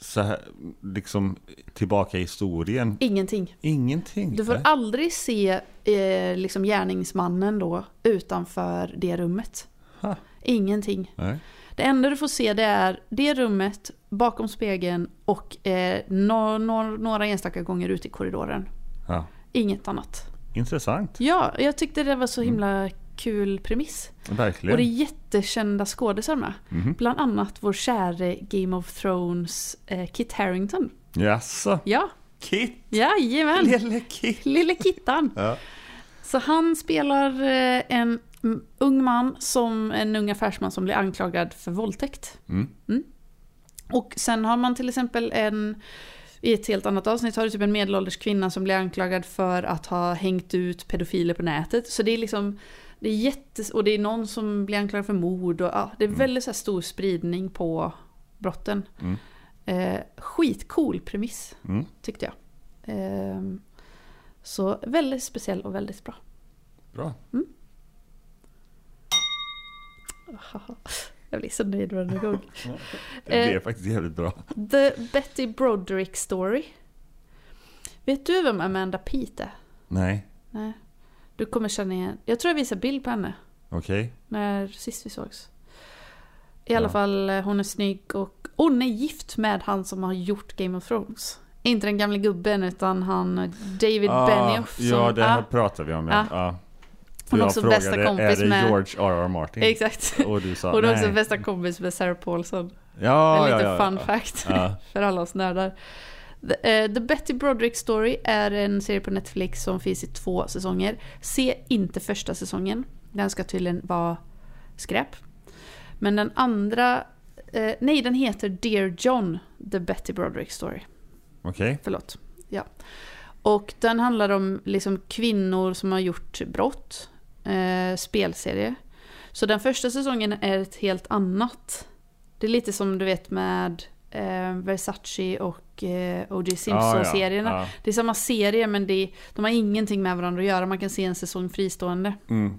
[SPEAKER 2] så här, liksom tillbaka i historien?
[SPEAKER 1] Ingenting.
[SPEAKER 2] Ingenting?
[SPEAKER 1] Du får
[SPEAKER 2] nej.
[SPEAKER 1] aldrig se eh, liksom gärningsmannen då utanför det rummet.
[SPEAKER 2] Ha.
[SPEAKER 1] Ingenting.
[SPEAKER 2] Nej.
[SPEAKER 1] Det enda du får se det är det rummet, bakom spegeln och eh, no, no, några enstaka gånger ute i korridoren.
[SPEAKER 2] Ja.
[SPEAKER 1] Inget annat.
[SPEAKER 2] Intressant.
[SPEAKER 1] Ja, jag tyckte det var så
[SPEAKER 2] Mm.
[SPEAKER 1] himla kul premiss.
[SPEAKER 2] Verkligen.
[SPEAKER 1] Och det är jättekända skådisar med.
[SPEAKER 2] Mhm.
[SPEAKER 1] Bland annat vår käre Game of Thrones eh, Kit Harington.
[SPEAKER 2] Jaså?
[SPEAKER 1] Ja,
[SPEAKER 2] Kit?
[SPEAKER 1] jajamän.
[SPEAKER 2] Lille Kit?
[SPEAKER 1] Lille Kittan.
[SPEAKER 2] Ja.
[SPEAKER 1] Så han spelar eh, en mm, ung man som en ung affärsman som blir anklagad för våldtäkt.
[SPEAKER 2] Mm.
[SPEAKER 1] Och sen har man till exempel en i ett helt annat avsnitt har du typ en medelålders kvinna som blir anklagad för att ha hängt ut pedofiler på nätet. Så det är liksom, det är jättes... Och det är någon som blir anklagad för mord och ja, det är väldigt så här stor spridning på brotten.
[SPEAKER 2] Mm.
[SPEAKER 1] Eh, skitcool premiss,
[SPEAKER 2] Mm.
[SPEAKER 1] tyckte jag. Ehm, så väldigt speciell och väldigt bra.
[SPEAKER 2] Bra.
[SPEAKER 1] Haha. Jag blir så nöjd varje gång.
[SPEAKER 2] Det är
[SPEAKER 1] Eh.
[SPEAKER 2] faktiskt jävligt bra.
[SPEAKER 1] The Betty Broderick Story. Vet du vem Amanda Peet är?
[SPEAKER 2] Nej,
[SPEAKER 1] Nej. Du kommer känna igen. Jag tror jag visade bild på henne
[SPEAKER 2] okej.
[SPEAKER 1] när sist vi sågs. I alla
[SPEAKER 2] Ja.
[SPEAKER 1] fall, eh, hon är snygg och hon är gift med han som har gjort Game of Thrones. Inte den gamle gubben utan han eh, David Benioff. Som,
[SPEAKER 2] Ah, ja, det här
[SPEAKER 1] ah,
[SPEAKER 2] pratar vi om. Ja.
[SPEAKER 1] Ah.
[SPEAKER 2] Ja. För
[SPEAKER 1] Hon är
[SPEAKER 2] jag
[SPEAKER 1] också
[SPEAKER 2] frågade,
[SPEAKER 1] bästa kompis
[SPEAKER 2] är det
[SPEAKER 1] med-
[SPEAKER 2] George R.R. Martin?
[SPEAKER 1] Exakt.
[SPEAKER 2] Och du sa
[SPEAKER 1] Hon är
[SPEAKER 2] nej.
[SPEAKER 1] också bästa kompis med Sarah Paulson.
[SPEAKER 2] Ja,
[SPEAKER 1] en
[SPEAKER 2] ja,
[SPEAKER 1] liten
[SPEAKER 2] ja,
[SPEAKER 1] fun
[SPEAKER 2] ja.
[SPEAKER 1] fact
[SPEAKER 2] Ja.
[SPEAKER 1] för alla oss nördar. The, eh, The Betty Broderick Story är en serie på Netflix som finns i två säsonger. Se inte första säsongen. Den ska tydligen vara skräp. Men den andra... Eh, nej, den heter Dear John, The Betty Broderick Story.
[SPEAKER 2] Okej.
[SPEAKER 1] Förlåt. Ja. Och den handlar om liksom kvinnor som har gjort brott. Eh, spelserie. Så den första säsongen är ett helt annat. Det är lite som du vet med eh, Versace och eh, O.J. Simpson-serierna.
[SPEAKER 2] Ja, ja,
[SPEAKER 1] Det är samma serie men det är, de har ingenting med varandra att göra. Man kan se en säsong fristående.
[SPEAKER 2] ja. Mm.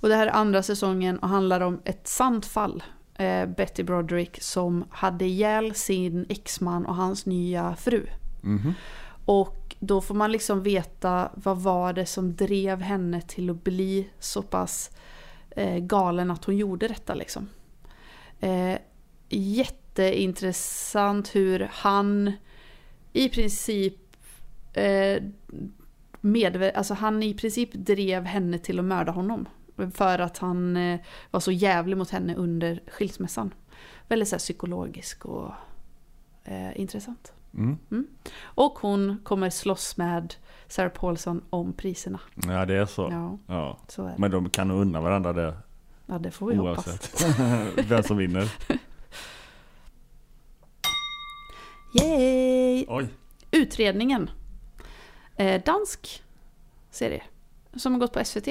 [SPEAKER 1] Och det här är andra säsongen och handlar om ett sant fall. Eh, Betty Broderick som hade ihjäl sin exman och hans nya fru.
[SPEAKER 2] Mhm.
[SPEAKER 1] Och då får man liksom veta vad var det som drev henne till att bli så pass eh, galen att hon gjorde detta liksom. Eh, jätteintressant hur han i princip eh, medve- alltså han i princip drev henne till att mörda honom. För att han eh, var så jävlig mot henne under skilsmässan. Väldigt så här psykologisk och eh, intressant.
[SPEAKER 2] Mm.
[SPEAKER 1] Och hon kommer slåss med Sarah Paulson om priserna.
[SPEAKER 2] ja, det är så. Ja.
[SPEAKER 1] Ja, så är det.
[SPEAKER 2] Men de kan nog unna varandra det
[SPEAKER 1] Ja, det får vi hoppas.
[SPEAKER 2] oavsett vem som vinner.
[SPEAKER 1] Yay!
[SPEAKER 2] Oj.
[SPEAKER 1] Utredningen. Eh, dansk serie. Som har gått på SVT.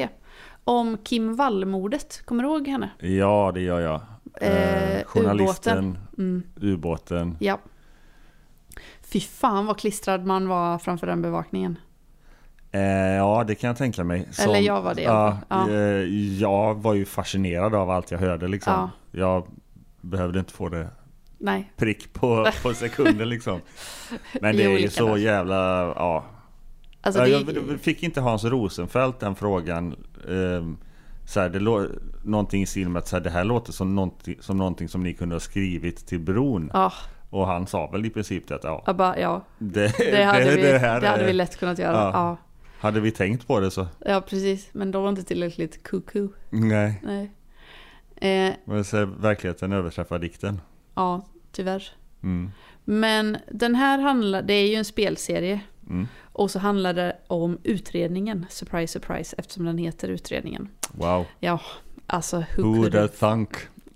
[SPEAKER 1] Om Kim Wall-mordet. Kommer du ihåg henne?
[SPEAKER 2] Ja, det gör jag.
[SPEAKER 1] Eh,
[SPEAKER 2] journalisten,
[SPEAKER 1] Mm,
[SPEAKER 2] ubåten.
[SPEAKER 1] ja. Fy fan vad klistrad man var framför den bevakningen.
[SPEAKER 2] Eh, ja, det kan jag tänka mig. Som-
[SPEAKER 1] Eller jag var det i alla
[SPEAKER 2] Ja,
[SPEAKER 1] fall. Ja.
[SPEAKER 2] eh, jag var ju fascinerad av allt jag hörde liksom.
[SPEAKER 1] Ja.
[SPEAKER 2] Jag behövde inte få det
[SPEAKER 1] Nej,
[SPEAKER 2] prick på, på sekunder liksom. Men det
[SPEAKER 1] I
[SPEAKER 2] är ju
[SPEAKER 1] olika
[SPEAKER 2] så
[SPEAKER 1] branscher.
[SPEAKER 2] jävla... Ja.
[SPEAKER 1] alltså
[SPEAKER 2] Ja,
[SPEAKER 1] det,
[SPEAKER 2] Jag fick inte Hans Rosenfeldt den frågan. ehm, Så här, det lå- någonting i stil med att så här, det här låter som någonting, som någonting som ni kunde ha skrivit till bron.
[SPEAKER 1] ja,
[SPEAKER 2] Och han sa väl i princip det att ja,
[SPEAKER 1] jag bara, ja.
[SPEAKER 2] det,
[SPEAKER 1] Det hade, vi, det,
[SPEAKER 2] här
[SPEAKER 1] hade
[SPEAKER 2] är-
[SPEAKER 1] vi lätt kunnat göra.
[SPEAKER 2] Ja.
[SPEAKER 1] Ja.
[SPEAKER 2] hade vi tänkt på det så...
[SPEAKER 1] Ja. precis. Men de var inte tillräckligt kuku.
[SPEAKER 2] Nej,
[SPEAKER 1] Nej. Eh,
[SPEAKER 2] men så här, verkligheten överträffar dikten.
[SPEAKER 1] ja, tyvärr.
[SPEAKER 2] Mm.
[SPEAKER 1] Men den här handlar, det är ju en spelserie.
[SPEAKER 2] Mm.
[SPEAKER 1] Och så handlar det om utredningen. Surprise, surprise, eftersom den heter utredningen.
[SPEAKER 2] Wow,
[SPEAKER 1] Ja, alltså who,
[SPEAKER 2] who would
[SPEAKER 1] could
[SPEAKER 2] have
[SPEAKER 1] have?
[SPEAKER 2] thunk?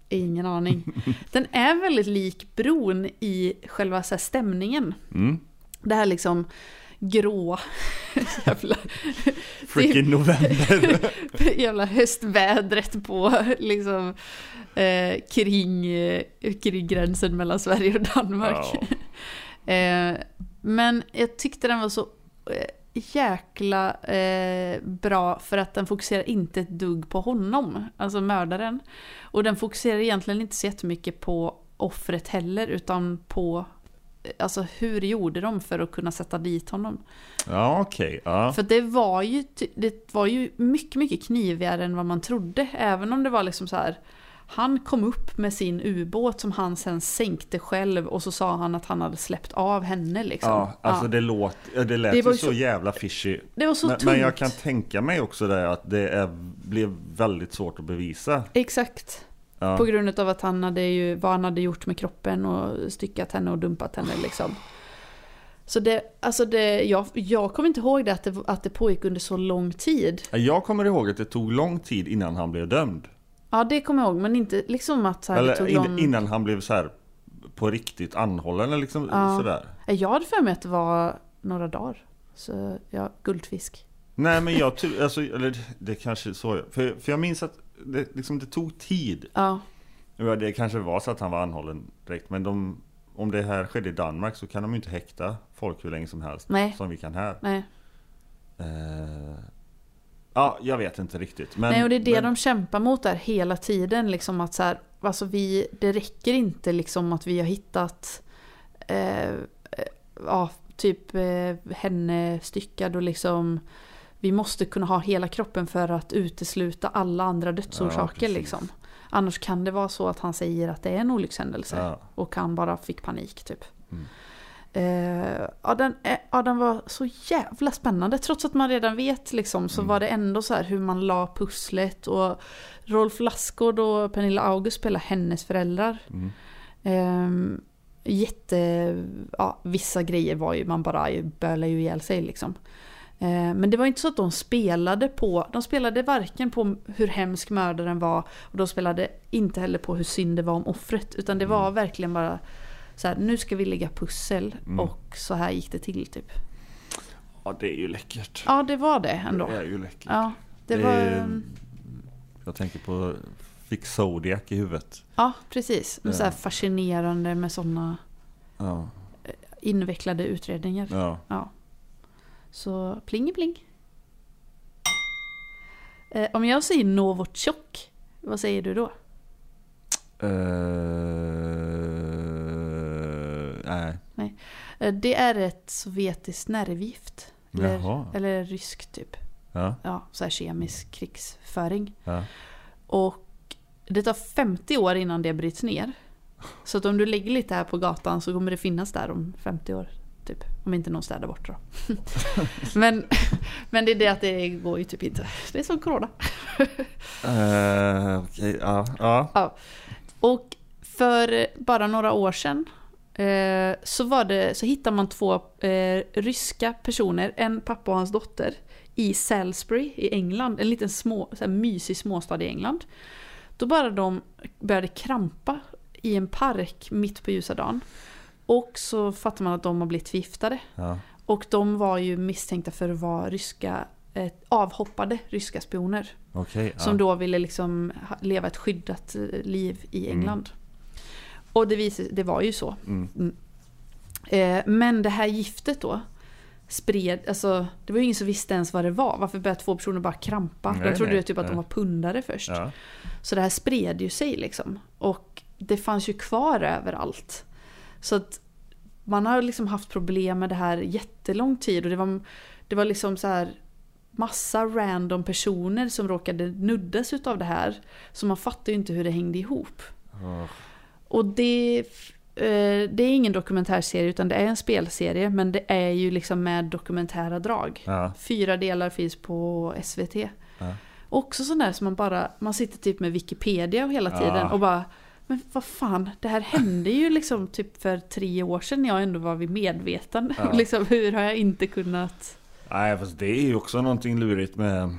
[SPEAKER 1] Ingen aning. Den är väldigt lik bron i själva så här stämningen.
[SPEAKER 2] Mm.
[SPEAKER 1] Det här liksom gråa, jävla,
[SPEAKER 2] Freaking november!
[SPEAKER 1] typ jävla höstvädret på liksom eh, kring, eh, kring gränsen mellan Sverige och Danmark.
[SPEAKER 2] Ja.
[SPEAKER 1] Eh, men jag tyckte den var så eh, jäkla eh, bra för att den fokuserar inte ett dugg på honom, alltså mördaren. Och den fokuserar egentligen inte så jättemycket på offret heller utan på Alltså hur gjorde de för att kunna sätta dit honom?
[SPEAKER 2] Ja, okej. Ja.
[SPEAKER 1] För det var ju, ty- det var ju mycket, mycket knivigare än vad man trodde. Även om det var liksom så här. Han kom upp med sin ubåt som han sen sänkte själv och så sa han att han hade släppt av henne liksom.
[SPEAKER 2] Ja, alltså
[SPEAKER 1] Ja.
[SPEAKER 2] det låt, ja, det lät
[SPEAKER 1] Det
[SPEAKER 2] ju
[SPEAKER 1] var
[SPEAKER 2] så,
[SPEAKER 1] ju så-
[SPEAKER 2] jävla fishy.
[SPEAKER 1] Det var så
[SPEAKER 2] Men,
[SPEAKER 1] tungt.
[SPEAKER 2] men jag kan tänka mig också det att det är, blev väldigt svårt att bevisa.
[SPEAKER 1] Exakt.
[SPEAKER 2] Ja.
[SPEAKER 1] På grund av att han hade ju, vad han hade gjort med kroppen och styckat henne och dumpat henne liksom. Så det, alltså det, jag, jag kommer inte ihåg det att, det att det pågick under så lång tid.
[SPEAKER 2] Jag kommer ihåg att det tog lång tid innan han blev dömd.
[SPEAKER 1] Ja det kommer jag ihåg, men inte liksom att så här, det
[SPEAKER 2] Eller
[SPEAKER 1] tog
[SPEAKER 2] in,
[SPEAKER 1] lång...
[SPEAKER 2] innan han blev så här på riktigt anhållen eller liksom
[SPEAKER 1] Ja.
[SPEAKER 2] sådär.
[SPEAKER 1] Nej, Jag hade för mig att det var några dagar. Så ja, guldfisk.
[SPEAKER 2] Nej men jag tror, alltså, eller det kanske är så. jag- För, för jag minns att det, liksom, det tog tid.
[SPEAKER 1] Ja,
[SPEAKER 2] Ja, Det kanske var så att han var anhållen direkt. Men de, om det här skedde i Danmark så kan de ju inte häkta folk hur länge som helst.
[SPEAKER 1] nej,
[SPEAKER 2] Som vi kan här.
[SPEAKER 1] nej.
[SPEAKER 2] Eh, ja, jag vet inte riktigt. Men,
[SPEAKER 1] nej och det är det
[SPEAKER 2] men,
[SPEAKER 1] de kämpar mot där hela tiden. Liksom att så här, alltså vi, det räcker inte liksom att vi har hittat eh, eh, ja, typ eh, henne styckad och liksom vi måste kunna ha hela kroppen för att utesluta alla andra dödsorsaker.
[SPEAKER 2] precis.
[SPEAKER 1] liksom. Annars kan det vara så att han säger att det är en olyckshändelse.
[SPEAKER 2] ja,
[SPEAKER 1] Och han bara fick panik typ.
[SPEAKER 2] Mm.
[SPEAKER 1] Eh, ja, den, eh, ja, den var så jävla spännande. Trots att man redan vet liksom, så
[SPEAKER 2] Mm.
[SPEAKER 1] var det ändå så här hur man la pusslet. Och Rolf Lassgård och Pernilla August spelar hennes föräldrar.
[SPEAKER 2] mm.
[SPEAKER 1] Ehm, jätte, ja, vissa grejer var ju, man bara bölade ju ihjäl sig liksom. Ehm, men det var inte så att de spelade på, de spelade varken på hur hemsk mördaren var och de spelade inte heller på hur synd det var om offret. Utan det var verkligen bara så här, nu ska vi lägga pussel
[SPEAKER 2] Mm.
[SPEAKER 1] och så här gick det till typ.
[SPEAKER 2] ja, det är ju läckert.
[SPEAKER 1] Ja, det var det ändå.
[SPEAKER 2] Det är ju läckert.
[SPEAKER 1] Ja, det
[SPEAKER 2] Det
[SPEAKER 1] var... mm,
[SPEAKER 2] är- Jag tänker på, fick Zodiac i huvudet.
[SPEAKER 1] Ja, precis.
[SPEAKER 2] Ja.
[SPEAKER 1] Så här fascinerande med sådana
[SPEAKER 2] Ja,
[SPEAKER 1] invecklade utredningar.
[SPEAKER 2] ja.
[SPEAKER 1] Så pling pling. Eh, om jag säger Novotjok, vad säger du då?
[SPEAKER 2] Eh, nej.
[SPEAKER 1] Eh, det är ett sovjetiskt nervgift. Eller,
[SPEAKER 2] Jaha.
[SPEAKER 1] eller ryskt typ.
[SPEAKER 2] Ja,
[SPEAKER 1] Ja, så här kemisk krigsföring.
[SPEAKER 2] ja.
[SPEAKER 1] Och det tar 50 år innan det bryts ner. Så att om du lägger lite här på gatan så kommer det finnas där om 50 år. Typ. Om inte någon städar bort det då. men, men det är det att det går ju typ inte. Det är som corona.
[SPEAKER 2] Eh, okej, ja, ja.
[SPEAKER 1] Och för bara några år sedan eh, så, var det, så hittade man två eh, ryska personer, en pappa och hans dotter, i Salisbury i England, en liten små, så här mysig småstad i England. Då bara de började krampa i en park mitt på ljusa dagen. Och så fattar man att de har blivit förgiftade.
[SPEAKER 2] ja.
[SPEAKER 1] Och de var ju misstänkta för att vara ryska, eh, avhoppade ryska spioner.
[SPEAKER 2] Okej, ja.
[SPEAKER 1] Som då ville liksom ha- leva ett skyddat eh, liv i England. Och det, visade, det var ju så.
[SPEAKER 2] Mm.
[SPEAKER 1] Eh, Men det här giftet då spred, alltså det var ju ingen som visste ens vad det var. Varför började två personer bara krampa?
[SPEAKER 2] Nej,
[SPEAKER 1] de trodde ju
[SPEAKER 2] nej,
[SPEAKER 1] typ att de
[SPEAKER 2] nej.
[SPEAKER 1] var pundare först.
[SPEAKER 2] Ja.
[SPEAKER 1] Så det här spred ju sig liksom. Och det fanns ju kvar överallt. Så att man har liksom haft problem med det här jättelång tid. Och det var, det var liksom så här massa random personer som råkade nuddas utav det här. Så man fattar ju inte hur det hängde ihop.
[SPEAKER 2] Åh,
[SPEAKER 1] Och det, eh, det är ingen dokumentärserie utan det är en spelserie. Men det är ju liksom med dokumentära drag.
[SPEAKER 2] ja.
[SPEAKER 1] Fyra delar finns på SVT.
[SPEAKER 2] Ja.
[SPEAKER 1] Också sån där som man bara, man sitter typ med Wikipedia och hela
[SPEAKER 2] Ja.
[SPEAKER 1] tiden och bara men vad fan, det här hände ju liksom typ för tre år sedan när jag ändå var vid medvetande.
[SPEAKER 2] Ja.
[SPEAKER 1] liksom, hur har jag inte kunnat...
[SPEAKER 2] Nej, fast det är ju också någonting lurigt med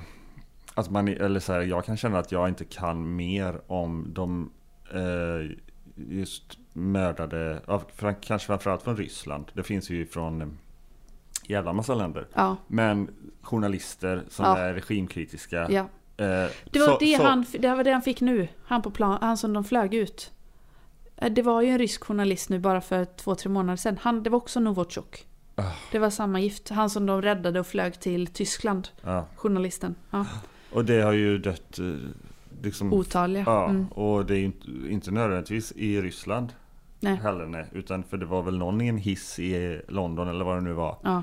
[SPEAKER 2] att man, eller så här, jag kan känna att jag inte kan mer om de eh, just mördade, ja, fram- kanske framförallt från Ryssland. Det finns ju från eh, jävla massa länder.
[SPEAKER 1] Ja,
[SPEAKER 2] Men journalister som
[SPEAKER 1] Ja.
[SPEAKER 2] är regimkritiska.
[SPEAKER 1] ja.
[SPEAKER 2] eh,
[SPEAKER 1] Det, var
[SPEAKER 2] så-
[SPEAKER 1] det,
[SPEAKER 2] så-
[SPEAKER 1] han, det var det han fick nu, han på plan, han som de flög ut. Eh, Det var ju en rysk journalist nu bara för två, tre månader sedan. Han, det var också Novotjok.
[SPEAKER 2] Ah.
[SPEAKER 1] Det var samma gift, han som de räddade och flög till Tyskland,
[SPEAKER 2] Ja.
[SPEAKER 1] journalisten. Ja.
[SPEAKER 2] Och det har ju dött eh, liksom,
[SPEAKER 1] Otaliga.
[SPEAKER 2] Ja,
[SPEAKER 1] Mm.
[SPEAKER 2] och det är ju inte, inte nödvändigtvis i Ryssland.
[SPEAKER 1] Nej.
[SPEAKER 2] heller. Nej. Utan för det var väl någon i en hiss i London eller vad det nu var.
[SPEAKER 1] Ja.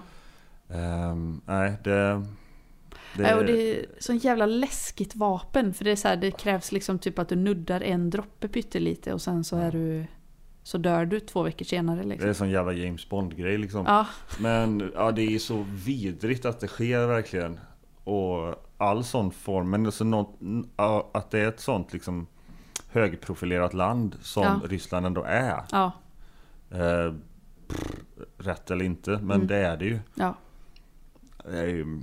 [SPEAKER 2] Ehm, nej, det...
[SPEAKER 1] Nej, Och det är sån jävla läskigt vapen. För det är så här, det krävs liksom typ att du nuddar en droppe pyttelite och sen så är du... Så dör du två veckor senare
[SPEAKER 2] det är
[SPEAKER 1] liksom.
[SPEAKER 2] en sån jävla James Bond-grej liksom.
[SPEAKER 1] Ja,
[SPEAKER 2] Men ja, det är så vidrigt att det sker verkligen. Och all sån form. Men alltså något, ja, att det är ett sånt liksom högprofilerat land som
[SPEAKER 1] Ja.
[SPEAKER 2] Ryssland ändå är.
[SPEAKER 1] ja,
[SPEAKER 2] Eh, pff, rätt eller inte, men
[SPEAKER 1] Mm.
[SPEAKER 2] det är det ju.
[SPEAKER 1] ja.
[SPEAKER 2] Det är ju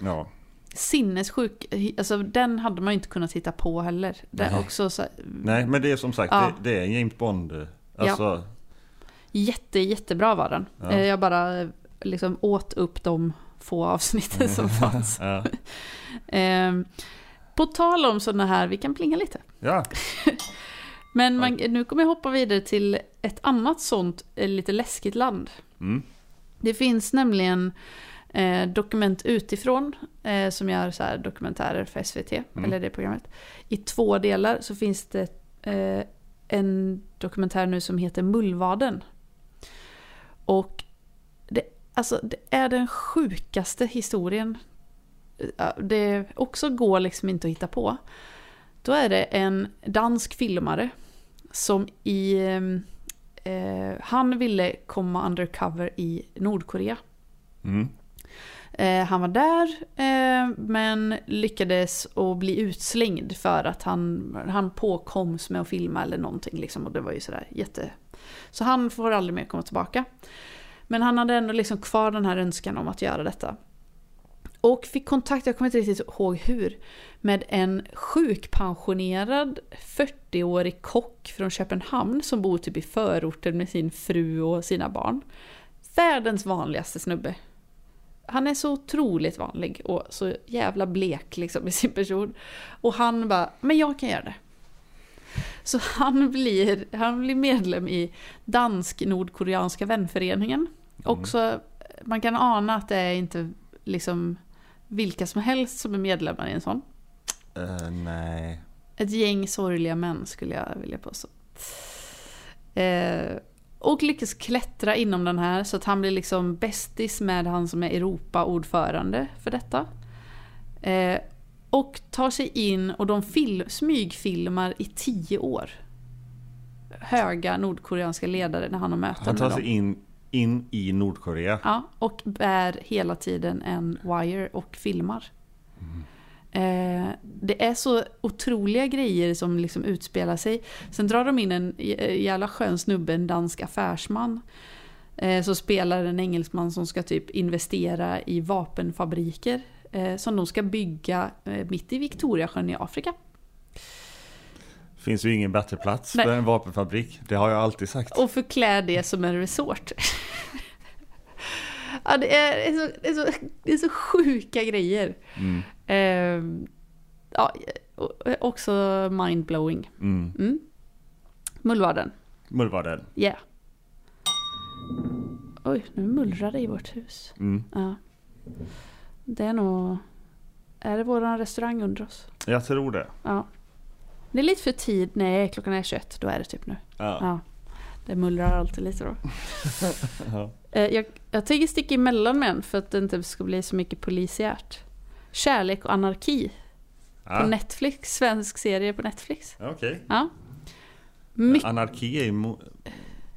[SPEAKER 2] ja.
[SPEAKER 1] Sinnessjuk. Alltså den hade man ju inte kunnat hitta på heller. Det är
[SPEAKER 2] Nej.
[SPEAKER 1] också så här,
[SPEAKER 2] Nej, men det är som sagt,
[SPEAKER 1] Ja.
[SPEAKER 2] det, det är en James Bond. eh, Alltså,
[SPEAKER 1] Jätte, jättebra var den.
[SPEAKER 2] Ja.
[SPEAKER 1] Eh, Jag bara eh, liksom åt upp de få avsnitten som
[SPEAKER 2] Mm.
[SPEAKER 1] fanns.
[SPEAKER 2] ja.
[SPEAKER 1] Eh, På tal om sådana här, vi kan plinga lite.
[SPEAKER 2] ja.
[SPEAKER 1] Men man, nu kommer jag hoppa vidare till ett annat sånt eh, lite läskigt land.
[SPEAKER 2] Mm.
[SPEAKER 1] Det finns nämligen eh, dokument utifrån eh, som gör så här dokumentärer för SVT,
[SPEAKER 2] Mm.
[SPEAKER 1] eller det programmet. I två delar så finns det eh, en dokumentär nu som heter Mullvaden. Och det, alltså, det är den sjukaste historien. Ja, Det också går liksom inte att hitta på. Då är det en dansk filmare som i... ehm, Eh, han ville komma undercover i Nordkorea.
[SPEAKER 2] Mm.
[SPEAKER 1] Eh, han var där eh, men lyckades att bli utslängd för att han, han påkoms med att filma eller någonting. Liksom, och det var ju sådär jätte... Så han får aldrig mer komma tillbaka. Men han hade ändå liksom kvar den här önskan om att göra detta. Och fick kontakt, jag kommer inte riktigt ihåg hur, med en sjukpensionerad 40-årig kock från Köpenhamn som bor typ i förorten med sin fru och sina barn. Världens vanligaste snubbe. Han är så otroligt vanlig och så jävla blek liksom i sin person. Och han bara, men jag kan göra det. Så han blir, han blir medlem i Dansk-Nordkoreanska vänföreningen. Också, man kan ana att det är inte liksom vilka som helst som är medlemmar i en sån.
[SPEAKER 2] Eh, nej.
[SPEAKER 1] Ett gäng sorgliga män skulle jag vilja påstå. Eh, och lyckas klättra inom den här så att han blir liksom bästis med han som är Europa-ordförande för detta. Eh, och tar sig in och de fil- smygfilmar i tio år. Höga nordkoreanska ledare när han har möten
[SPEAKER 2] Han tar
[SPEAKER 1] med
[SPEAKER 2] sig
[SPEAKER 1] dem.
[SPEAKER 2] in, in i Nordkorea.
[SPEAKER 1] Ja, och bär hela tiden en wire och filmar. Eh, det är så otroliga grejer som liksom utspelar sig. Sen drar de in en j- eh, jävla skön snubbe, en dansk affärsman. Eh, som spelar en engelsman som ska typ investera i vapenfabriker. Eh, som de ska bygga eh, mitt i Victoriasjön i Afrika.
[SPEAKER 2] Finns ju ingen bättre plats
[SPEAKER 1] Nej. Oh.
[SPEAKER 2] för en vapenfabrik. Det har jag alltid sagt.
[SPEAKER 1] Och förklä det som en resort. ja, det, är, det, är så, det, är så, det är så sjuka grejer.
[SPEAKER 2] Mm.
[SPEAKER 1] Ehm, ja, och- också mindblowing.
[SPEAKER 2] Mm.
[SPEAKER 1] Mm. Mullvarden.
[SPEAKER 2] Mullvaden.
[SPEAKER 1] Yeah. Oj, nu mullrar det i vårt hus.
[SPEAKER 2] Mm.
[SPEAKER 1] Ja. Det är nog... Är det våran restaurang under oss?
[SPEAKER 2] Jag tror det.
[SPEAKER 1] Ja. Det är lite för tid. Nej, klockan är 21. Då är det typ nu.
[SPEAKER 2] Ja.
[SPEAKER 1] Ja. Det mullrar alltid lite då.
[SPEAKER 2] Ja.
[SPEAKER 1] Eh, Jag, jag tänker sticka emellan med en för att det inte ska bli så mycket polisiärt. Kärlek och anarki på
[SPEAKER 2] Ja.
[SPEAKER 1] Netflix. Svensk serie på Netflix.
[SPEAKER 2] Okej.
[SPEAKER 1] Ja. My-
[SPEAKER 2] Anarki är ju mo-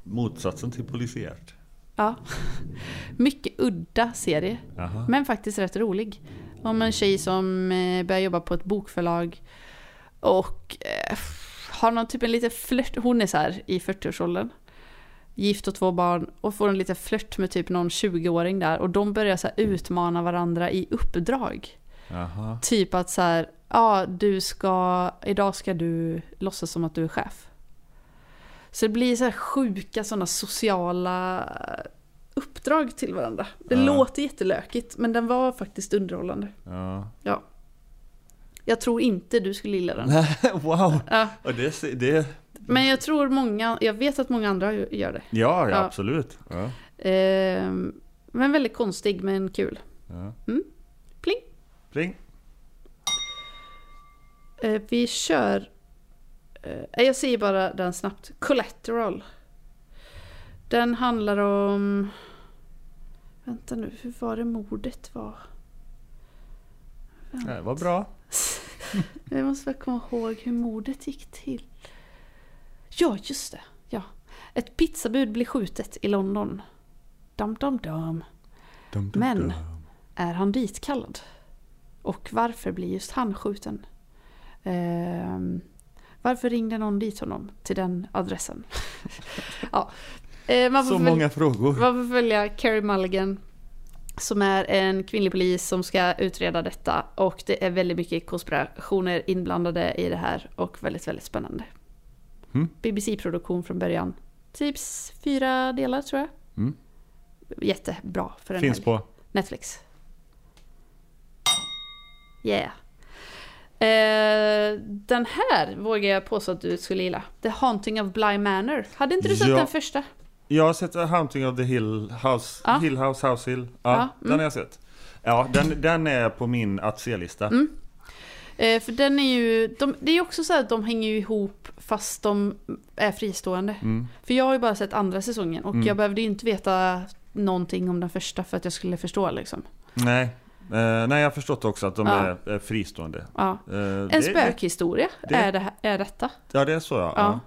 [SPEAKER 2] motsatsen till polisiärt.
[SPEAKER 1] ja. Mycket udda serie,
[SPEAKER 2] Jaha.
[SPEAKER 1] men faktiskt rätt rolig. Om en tjej som eh, börjar jobba på ett bokförlag och eh, har någon typ en liten flört. Hon är så här i 40-årsåldern. Gift och två barn och får en liten flört med typ någon 20-åring där och de börjar så här utmana varandra i uppdrag.
[SPEAKER 2] Jaha.
[SPEAKER 1] Typ att så här, ja du ska, idag ska du låtsas som att du är chef. Så det blir så här sjuka sådana sociala uppdrag till varandra. Det
[SPEAKER 2] Ja.
[SPEAKER 1] låter jättelökigt men den var faktiskt underhållande.
[SPEAKER 2] Ja.
[SPEAKER 1] Ja. Jag tror inte du skulle gilla den.
[SPEAKER 2] wow!
[SPEAKER 1] Ja,
[SPEAKER 2] Och det, ser- det,
[SPEAKER 1] men jag tror många, jag vet att många andra gör det.
[SPEAKER 2] ja, ja,
[SPEAKER 1] Ja.
[SPEAKER 2] absolut. Ja.
[SPEAKER 1] Ehm, men väldigt konstig men kul.
[SPEAKER 2] Ja.
[SPEAKER 1] Mm. Pling.
[SPEAKER 2] Pling.
[SPEAKER 1] Eh, vi kör... Eh, jag säger bara den snabbt. Collateral. Den handlar om... Vänta nu, hur var det mordet var?
[SPEAKER 2] Det var bra.
[SPEAKER 1] Jag måste väl komma ihåg hur mordet gick till. Ja, just det. Ja. Ett pizzabud blir skjutet i London. Dam, dam, dam.
[SPEAKER 2] Dum, dum,
[SPEAKER 1] Men-
[SPEAKER 2] dum.
[SPEAKER 1] Är han ditkallad? Och varför blir just han skjuten? Ehm, varför ringde någon dit honom till den adressen? ja. Eh, man får
[SPEAKER 2] Så
[SPEAKER 1] väl-
[SPEAKER 2] många frågor.
[SPEAKER 1] Man får följa Carrie Mulligan som är en kvinnlig polis som ska utreda detta och det är väldigt mycket konspirationer inblandade i det här och väldigt, väldigt spännande.
[SPEAKER 2] Mm.
[SPEAKER 1] BBC-produktion från början. Typ fyra delar tror jag.
[SPEAKER 2] Mm.
[SPEAKER 1] Jättebra för en
[SPEAKER 2] Finns
[SPEAKER 1] helg.
[SPEAKER 2] på.
[SPEAKER 1] Netflix. Yeah. Eh, den här vågar jag påstå att du skulle gilla. The Haunting of Bly Manor. Hade inte du sett
[SPEAKER 2] Ja.
[SPEAKER 1] den första?
[SPEAKER 2] Jag har sett A Haunting of the Hill House,
[SPEAKER 1] Ja.
[SPEAKER 2] Hill House, House Hill. Ja,
[SPEAKER 1] Ja, mm.
[SPEAKER 2] den har jag sett. Ja, den, den är på min att se-lista.
[SPEAKER 1] Mm. Eh, för den är ju, de, det är ju också så här att de hänger ju ihop fast de är fristående.
[SPEAKER 2] Mm.
[SPEAKER 1] För jag har ju bara sett andra säsongen och
[SPEAKER 2] Mm.
[SPEAKER 1] jag behövde ju inte veta någonting om den första för att jag skulle förstå liksom.
[SPEAKER 2] Nej. Eh, nej, jag har förstått också att de
[SPEAKER 1] Ja.
[SPEAKER 2] är eh, fristående.
[SPEAKER 1] Ja.
[SPEAKER 2] Eh,
[SPEAKER 1] En
[SPEAKER 2] det, det,
[SPEAKER 1] spökhistoria
[SPEAKER 2] det-
[SPEAKER 1] är, det, här- är detta.
[SPEAKER 2] Ja, det är så ja.
[SPEAKER 1] Ja.
[SPEAKER 2] ja.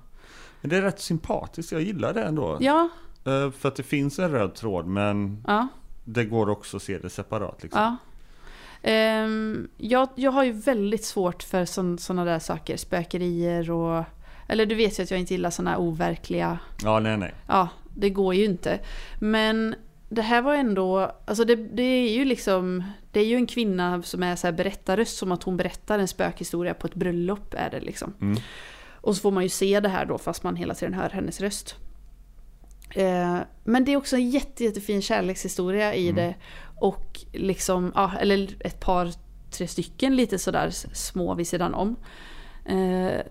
[SPEAKER 2] Men det är rätt sympatiskt, jag gillar det ändå.
[SPEAKER 1] Ja,
[SPEAKER 2] Eh, för att det finns en röd tråd, men
[SPEAKER 1] ja,
[SPEAKER 2] det går också att se det separat. Liksom.
[SPEAKER 1] ja. Ehm, jag, jag har ju väldigt svårt för sådana där saker, spökerier och... Eller du vet ju att jag inte gillar sådana overkliga
[SPEAKER 2] ja, nej, nej.
[SPEAKER 1] ja, det går ju inte. Men det här var ändå, alltså det, det är ju liksom, det är ju en kvinna som är så här berättarröst som att hon berättar en spökhistoria på ett bröllop är det liksom.
[SPEAKER 2] Mm.
[SPEAKER 1] Och så får man ju se det här då fast man hela tiden hör hennes röst. Eh, men det är också en jätte, jättefin kärlekshistoria i det. Och liksom, ja, eller ett par, tre stycken lite sådär s- små vid sidan om. Eh,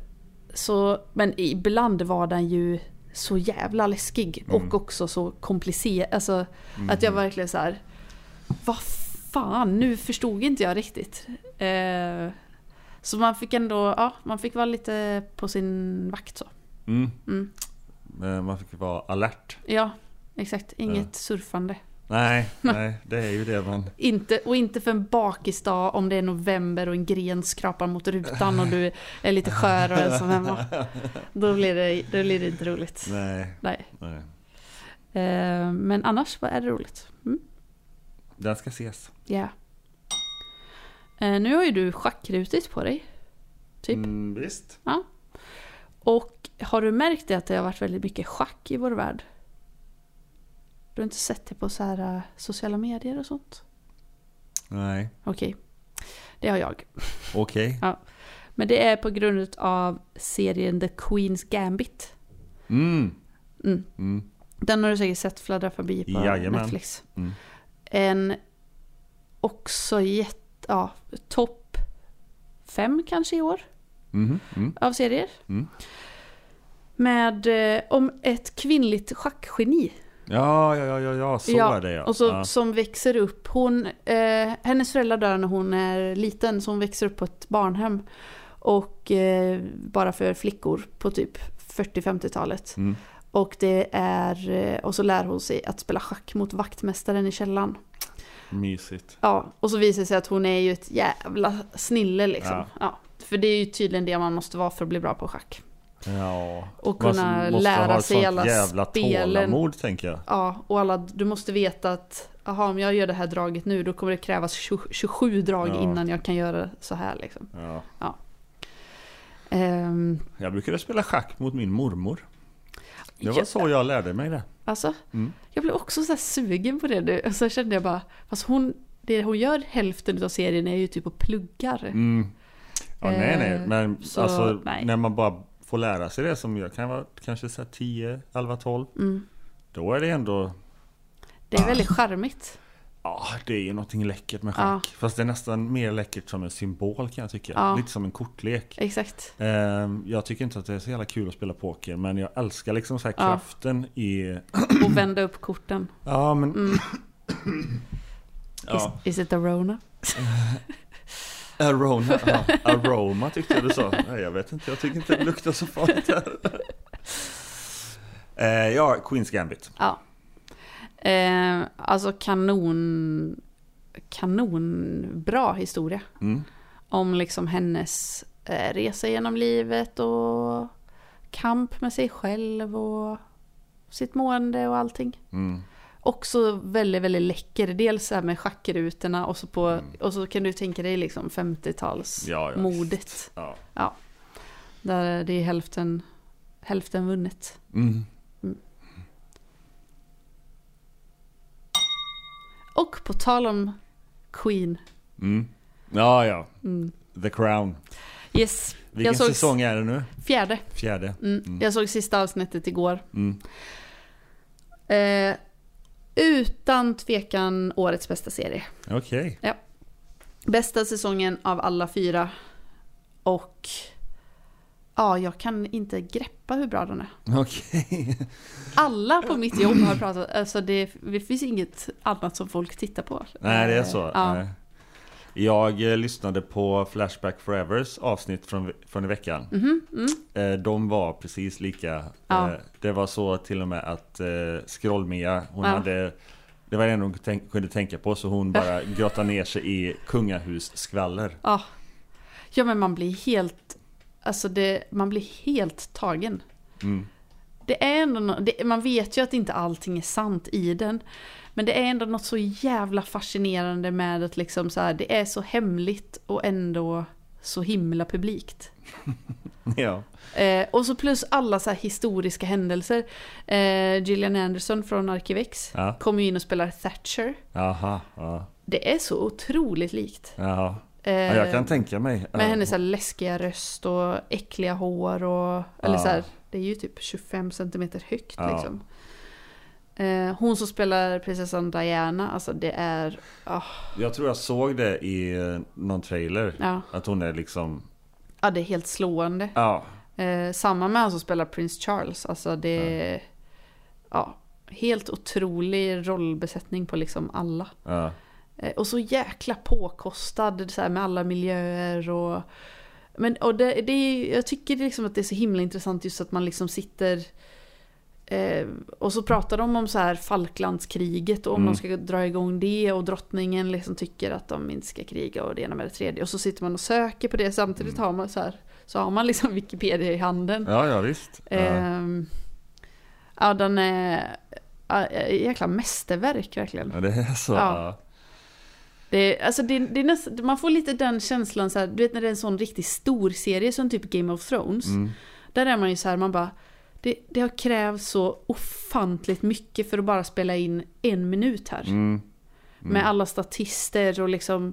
[SPEAKER 1] så, men ibland var den ju så jävla läskig och också så komplicerad. Alltså att jag verkligen så här. Vad fan, nu förstod inte jag riktigt. Eh, så man fick ändå, ja, man fick vara lite på sin vakt så.
[SPEAKER 2] Mm.
[SPEAKER 1] Mm.
[SPEAKER 2] Eh, man fick vara alert.
[SPEAKER 1] Ja, exakt. Inget surfande.
[SPEAKER 2] Nej, nej, det är ju det man...
[SPEAKER 1] Inte, och inte för en bakisdag om det är november och en gren skrapar mot rutan och du är lite skör och ensam hemma. Då blir det, då blir det inte roligt.
[SPEAKER 2] Nej,
[SPEAKER 1] Nej.
[SPEAKER 2] nej.
[SPEAKER 1] Eh, men annars vad är det roligt. Mm.
[SPEAKER 2] Den ska ses.
[SPEAKER 1] Yeah. Eh, nu har ju du schackrutigt på dig. Typ.
[SPEAKER 2] Mm, visst.
[SPEAKER 1] Och har du märkt det att det har varit väldigt mycket schack i vår värld? Du har inte sett det på så här eh, sociala medier och sånt?
[SPEAKER 2] Nej,
[SPEAKER 1] Okej. Det har jag.
[SPEAKER 2] okej.
[SPEAKER 1] Men det är på grund av serien The Queen's Gambit.
[SPEAKER 2] Mm.
[SPEAKER 1] Mm.
[SPEAKER 2] Mm.
[SPEAKER 1] Den har du säkert sett fladdra förbi på
[SPEAKER 2] Jajamän.
[SPEAKER 1] Netflix.
[SPEAKER 2] Mm.
[SPEAKER 1] En också jätte... Ja, topp fem kanske i år
[SPEAKER 2] Mhm. Mm.
[SPEAKER 1] av serier.
[SPEAKER 2] Mm.
[SPEAKER 1] Med eh, om ett kvinnligt schackgeni.
[SPEAKER 2] Ja, ja, ja, ja, ja, så
[SPEAKER 1] Ja,
[SPEAKER 2] är det ja.
[SPEAKER 1] Och så,
[SPEAKER 2] ja.
[SPEAKER 1] som växer upp. Hon, eh, hennes föräldrar dör när hon är liten, så hon växer upp på ett barnhem. Och eh, bara för flickor på typ 40-50-talet.
[SPEAKER 2] Mm.
[SPEAKER 1] Och, det är, eh, och så lär hon sig att spela schack mot vaktmästaren i källaren.
[SPEAKER 2] Mysigt.
[SPEAKER 1] Ja, och så visar det sig att hon är ju ett jävla snille liksom. Ja.
[SPEAKER 2] Ja.
[SPEAKER 1] för det är ju tydligen det man måste vara för att bli bra på schack.
[SPEAKER 2] Ja.
[SPEAKER 1] Och
[SPEAKER 2] Man
[SPEAKER 1] kunna
[SPEAKER 2] måste
[SPEAKER 1] lära
[SPEAKER 2] ha ett
[SPEAKER 1] sig
[SPEAKER 2] sånt
[SPEAKER 1] alla
[SPEAKER 2] jävla
[SPEAKER 1] spelen.
[SPEAKER 2] tålamod tänker jag.
[SPEAKER 1] Ja, och alla, du måste veta att aha, om jag gör det här draget nu då kommer det krävas 20, 27 drag
[SPEAKER 2] Ja.
[SPEAKER 1] innan jag kan göra så här liksom.
[SPEAKER 2] Ja.
[SPEAKER 1] Ehm,
[SPEAKER 2] Jag brukade spela schack mot min mormor. Det var
[SPEAKER 1] ja,
[SPEAKER 2] så jag lärde mig det.
[SPEAKER 1] Alltså,
[SPEAKER 2] Mm.
[SPEAKER 1] jag blev också så här sugen på det nu. Och så kände jag bara, fast hon, det hon gör hälften av serien är ju typ och pluggar.
[SPEAKER 2] Mm. Ja, nej,
[SPEAKER 1] Eh,
[SPEAKER 2] nej, men
[SPEAKER 1] så,
[SPEAKER 2] alltså,
[SPEAKER 1] nej.
[SPEAKER 2] när man bara får lära sig det som jag kan vara kanske så här 10, 11, 12.
[SPEAKER 1] Mm.
[SPEAKER 2] Då är det ändå,
[SPEAKER 1] Det är väldigt charmigt.
[SPEAKER 2] ja det är ju någonting läckert med
[SPEAKER 1] Ja.
[SPEAKER 2] schack. Fast det är nästan mer läckert som en symbol kan jag tycka.
[SPEAKER 1] Ja.
[SPEAKER 2] Lite som en kortlek.
[SPEAKER 1] Exakt.
[SPEAKER 2] Ehm, Jag tycker inte att det är så jävla kul att spela poker men jag älskar liksom så här
[SPEAKER 1] Ja.
[SPEAKER 2] kraften i...
[SPEAKER 1] Och vända upp korten.
[SPEAKER 2] Ja men...
[SPEAKER 1] Mm.
[SPEAKER 2] ja,
[SPEAKER 1] Is, is it a Rona?
[SPEAKER 2] aroma, ja, aroma tyckte jag du sa. Nej jag vet inte, jag tycker inte det luktar så farligt här. Eh, ja, Queens Gambit.
[SPEAKER 1] Ja. Eh, alltså kanon... Kanonbra historia.
[SPEAKER 2] Mm.
[SPEAKER 1] Om liksom hennes eh, resa genom livet och kamp med sig själv och sitt mående och allting.
[SPEAKER 2] Mm.
[SPEAKER 1] Också väldigt, väldigt läcker. Dels så här med schackrutorna och så, på, och så kan du tänka dig liksom 50-talsmodet.
[SPEAKER 2] Mm. Ja, ja, Ja.
[SPEAKER 1] Där det är hälften, hälften vunnet.
[SPEAKER 2] Mm.
[SPEAKER 1] Och på tal om Queen.
[SPEAKER 2] Mm. ja, ja.
[SPEAKER 1] Mm.
[SPEAKER 2] The Crown.
[SPEAKER 1] Yes.
[SPEAKER 2] Vilken
[SPEAKER 1] såg-
[SPEAKER 2] säsong är det nu?
[SPEAKER 1] Fjärde.
[SPEAKER 2] Fjärde.
[SPEAKER 1] Mm. Jag såg sista avsnittet igår.
[SPEAKER 2] Mm.
[SPEAKER 1] Eh, utan tvekan årets bästa serie.
[SPEAKER 2] Okej.
[SPEAKER 1] Bästa säsongen av alla fyra. Och ja, jag kan inte greppa hur bra den är.
[SPEAKER 2] Okej.
[SPEAKER 1] Alla på mitt jobb har pratat, alltså det, det finns inget annat som folk tittar på.
[SPEAKER 2] Nej, det är så.
[SPEAKER 1] Ja.
[SPEAKER 2] Nej. Jag eh, lyssnade på Flashback Forevers avsnitt från, från i veckan.
[SPEAKER 1] Mhm, mm.
[SPEAKER 2] Eh, de var precis lika.
[SPEAKER 1] Ja.
[SPEAKER 2] Eh, det var så till och med att eh, Skroll-Mia, hon
[SPEAKER 1] Ja.
[SPEAKER 2] hade det var det enda hon tänk, kunde tänka på så hon bara grottade ner sig i kungahusskvaller.
[SPEAKER 1] Ja. ja, men man blir helt, alltså det, man blir helt tagen.
[SPEAKER 2] Mm.
[SPEAKER 1] Det är ändå nå- det, man vet ju att inte allting är sant i den. Men det är ändå något så jävla fascinerande med att liksom så här, det är så hemligt och ändå så himla publikt.
[SPEAKER 2] Ja.
[SPEAKER 1] Eh, och så plus alla så här historiska händelser. Eh, Gillian Anderson från Arkivex
[SPEAKER 2] Ja.
[SPEAKER 1] kommer ju in och spelar Thatcher.
[SPEAKER 2] Aha, ja,
[SPEAKER 1] Det är så otroligt likt.
[SPEAKER 2] jaha.
[SPEAKER 1] Eh,
[SPEAKER 2] Ja, jag kan tänka mig.
[SPEAKER 1] Med hennes så här läskiga röst och äckliga hår och... Eller
[SPEAKER 2] Ja.
[SPEAKER 1] så här, det är ju typ 25 centimeter högt
[SPEAKER 2] Ja.
[SPEAKER 1] liksom. Eh, hon som spelar prinsessan Diana, alltså det är... ah,
[SPEAKER 2] Jag tror jag såg det i eh, någon trailer.
[SPEAKER 1] ja.
[SPEAKER 2] Att hon är liksom...
[SPEAKER 1] ja, det är helt slående.
[SPEAKER 2] Ja.
[SPEAKER 1] Eh, samma med han som spelar prins Charles, alltså det är... Ja, helt otrolig rollbesättning på liksom alla.
[SPEAKER 2] ja.
[SPEAKER 1] Eh, Och så jäkla påkostad så här, med alla miljöer och... Men och det, det är, jag tycker liksom att det är så himla intressant just att man liksom sitter... Eh, och så pratar de om så här Falklandskriget och om
[SPEAKER 2] Mm.
[SPEAKER 1] de ska dra igång det och drottningen liksom tycker att de inte ska kriga och det ena med det tredje. Och så sitter man och söker på det samtidigt
[SPEAKER 2] Mm.
[SPEAKER 1] har man så här, så har man liksom Wikipedia i handen.
[SPEAKER 2] ja, ja visst. Ja.
[SPEAKER 1] Ehm, ja den är... ja, Jäkla mästerverk verkligen.
[SPEAKER 2] Ja, det är så.
[SPEAKER 1] Ja.
[SPEAKER 2] Ja.
[SPEAKER 1] Det, alltså det, det är näst, man får lite den känslan så här, du vet när det är en sån riktigt stor serie som typ Game of Thrones.
[SPEAKER 2] Mm.
[SPEAKER 1] Där är man ju så här, man bara, det, det har krävts så ofantligt mycket för att bara spela in en minut här.
[SPEAKER 2] Mm.
[SPEAKER 1] Med alla statister och liksom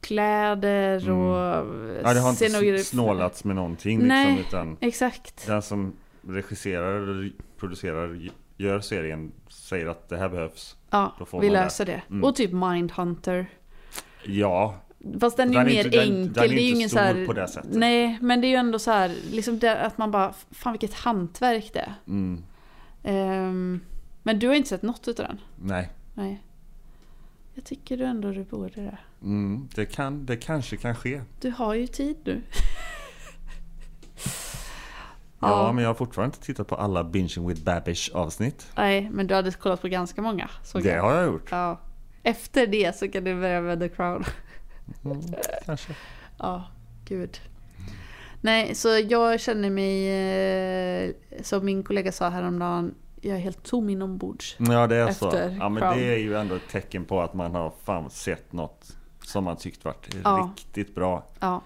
[SPEAKER 1] kläder och
[SPEAKER 2] Mm. ja, det har inte
[SPEAKER 1] scenografi-
[SPEAKER 2] s- snålats med någonting. Liksom,
[SPEAKER 1] Nej.
[SPEAKER 2] Utan
[SPEAKER 1] Exakt.
[SPEAKER 2] den som regisserar eller producerar, gör serien, säger att det här behövs.
[SPEAKER 1] Ja,
[SPEAKER 2] Då får
[SPEAKER 1] vi
[SPEAKER 2] man det.
[SPEAKER 1] löser det.
[SPEAKER 2] Mm.
[SPEAKER 1] Och typ Mindhunter.
[SPEAKER 2] Ja,
[SPEAKER 1] Fast den är,
[SPEAKER 2] Den är
[SPEAKER 1] ju mer
[SPEAKER 2] inte- den-
[SPEAKER 1] enkel.
[SPEAKER 2] den är
[SPEAKER 1] det är ju
[SPEAKER 2] inte
[SPEAKER 1] ingen
[SPEAKER 2] stor
[SPEAKER 1] så här,
[SPEAKER 2] på det sättet.
[SPEAKER 1] Nej, men det är ju ändå så här, liksom det, att man bara, fan vilket hantverk det är.
[SPEAKER 2] mm.
[SPEAKER 1] Ehm, men du har inte sett något utav den?
[SPEAKER 2] nej.
[SPEAKER 1] Nej. Jag tycker du ändå du borde det.
[SPEAKER 2] Mm. Det, kan, det kanske kan ske. Ja,
[SPEAKER 1] Du har ju tid nu.
[SPEAKER 2] men jag har fortfarande inte tittat på alla Binging with Babish avsnitt.
[SPEAKER 1] Nej, men du hade kollat på ganska många. Såg
[SPEAKER 2] Det
[SPEAKER 1] jag.
[SPEAKER 2] har jag gjort.
[SPEAKER 1] Ja. Efter det så kan du börja med The Crown.
[SPEAKER 2] Mm, kanske.
[SPEAKER 1] Ja, gud. Nej, så jag känner mig, eh, som min kollega sa häromdagen, jag är helt tom inombords.
[SPEAKER 2] Ja, det är så.
[SPEAKER 1] Efter
[SPEAKER 2] Ja, men
[SPEAKER 1] Crown.
[SPEAKER 2] det är ju ändå ett tecken på att man har fan sett något som man tyckt varit
[SPEAKER 1] Ja.
[SPEAKER 2] riktigt bra.
[SPEAKER 1] Ja,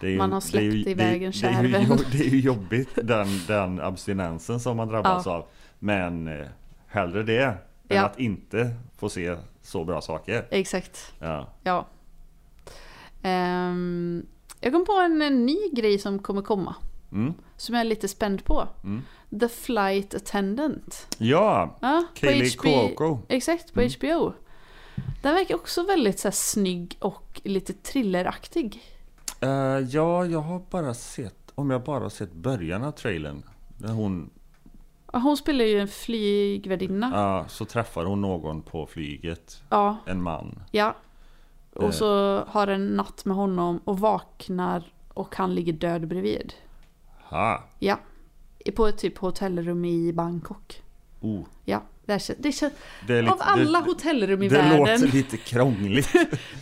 [SPEAKER 2] Det är ju-
[SPEAKER 1] Man har släppt
[SPEAKER 2] det är ju-
[SPEAKER 1] iväg
[SPEAKER 2] det-
[SPEAKER 1] en
[SPEAKER 2] det är ju
[SPEAKER 1] kär vän.
[SPEAKER 2] jo- Det är ju jobbigt den, den abstinensen som man drabbas
[SPEAKER 1] Ja.
[SPEAKER 2] av. Men eh, hellre det än
[SPEAKER 1] Ja.
[SPEAKER 2] att inte få se så bra saker.
[SPEAKER 1] exakt.
[SPEAKER 2] Ja.
[SPEAKER 1] Ja. Ehm, jag kom på en, en ny grej som kommer komma.
[SPEAKER 2] Mm.
[SPEAKER 1] Som jag är lite spänd på.
[SPEAKER 2] Mm.
[SPEAKER 1] The Flight Attendant.
[SPEAKER 2] ja,
[SPEAKER 1] Ja,
[SPEAKER 2] Kaylee Cuoco. Mm.
[SPEAKER 1] Exakt, på HBO. Den verkar också väldigt så här, snygg och lite thrilleraktig.
[SPEAKER 2] Eh, ja, jag har bara sett, om jag bara har sett början av trailern. När hon,
[SPEAKER 1] Ja, Hon spelar ju en flygvärdinna. Ja.
[SPEAKER 2] ja, så träffar hon någon på flyget.
[SPEAKER 1] ja,
[SPEAKER 2] En man. Eh.
[SPEAKER 1] Och så har en natt med honom och vaknar och han ligger död bredvid.
[SPEAKER 2] Ha.
[SPEAKER 1] Ja. På ett typ hotellrum i Bangkok.
[SPEAKER 2] Oh,
[SPEAKER 1] Ja, det känns, det känns,
[SPEAKER 2] det är lite,
[SPEAKER 1] av alla
[SPEAKER 2] det,
[SPEAKER 1] hotellrum i
[SPEAKER 2] det låter
[SPEAKER 1] världen
[SPEAKER 2] lite krångligt.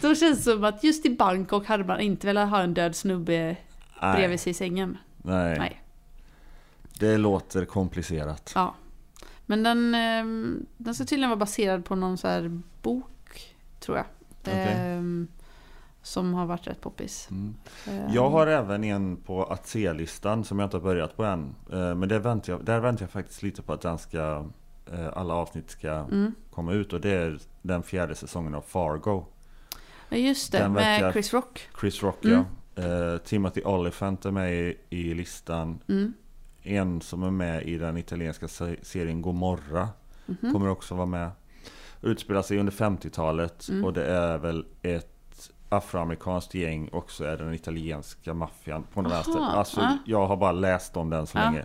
[SPEAKER 1] så känns det som att just i Bangkok hade man inte velat ha en död snubbe bredvid
[SPEAKER 2] Nej,
[SPEAKER 1] sig i sängen.
[SPEAKER 2] nej.
[SPEAKER 1] Nej.
[SPEAKER 2] det låter komplicerat.
[SPEAKER 1] Ja. Men den, ehm, den ska tydligen vara baserad på någon så här bok, tror jag.
[SPEAKER 2] Okej.
[SPEAKER 1] Ehm, Som har varit rätt poppis.
[SPEAKER 2] Mm.
[SPEAKER 1] Ehm,
[SPEAKER 2] Jag har även en på att se-listan som jag inte har börjat på än. Eh, Men det väntar jag, där väntar jag faktiskt lite på att den ska, eh, alla avsnitt ska
[SPEAKER 1] Mm.
[SPEAKER 2] komma ut. Och det är den fjärde säsongen av Fargo.
[SPEAKER 1] Ja, just det,
[SPEAKER 2] Den verkar-
[SPEAKER 1] med Chris Rock.
[SPEAKER 2] Chris Rock
[SPEAKER 1] Mm.
[SPEAKER 2] ja. Eh, Timothy Olyphant är med i, i listan.
[SPEAKER 1] Mm.
[SPEAKER 2] En som är med i den italienska se- serien Gomorra
[SPEAKER 1] Mhm.
[SPEAKER 2] kommer också vara med. Utspelar sig under 50-talet
[SPEAKER 1] Mm.
[SPEAKER 2] och det är väl ett afroamerikanskt gäng och så är den italienska maffian på något
[SPEAKER 1] Aha,
[SPEAKER 2] vänster. Alltså,
[SPEAKER 1] ja.
[SPEAKER 2] Jag har bara läst om den så
[SPEAKER 1] Ja.
[SPEAKER 2] länge.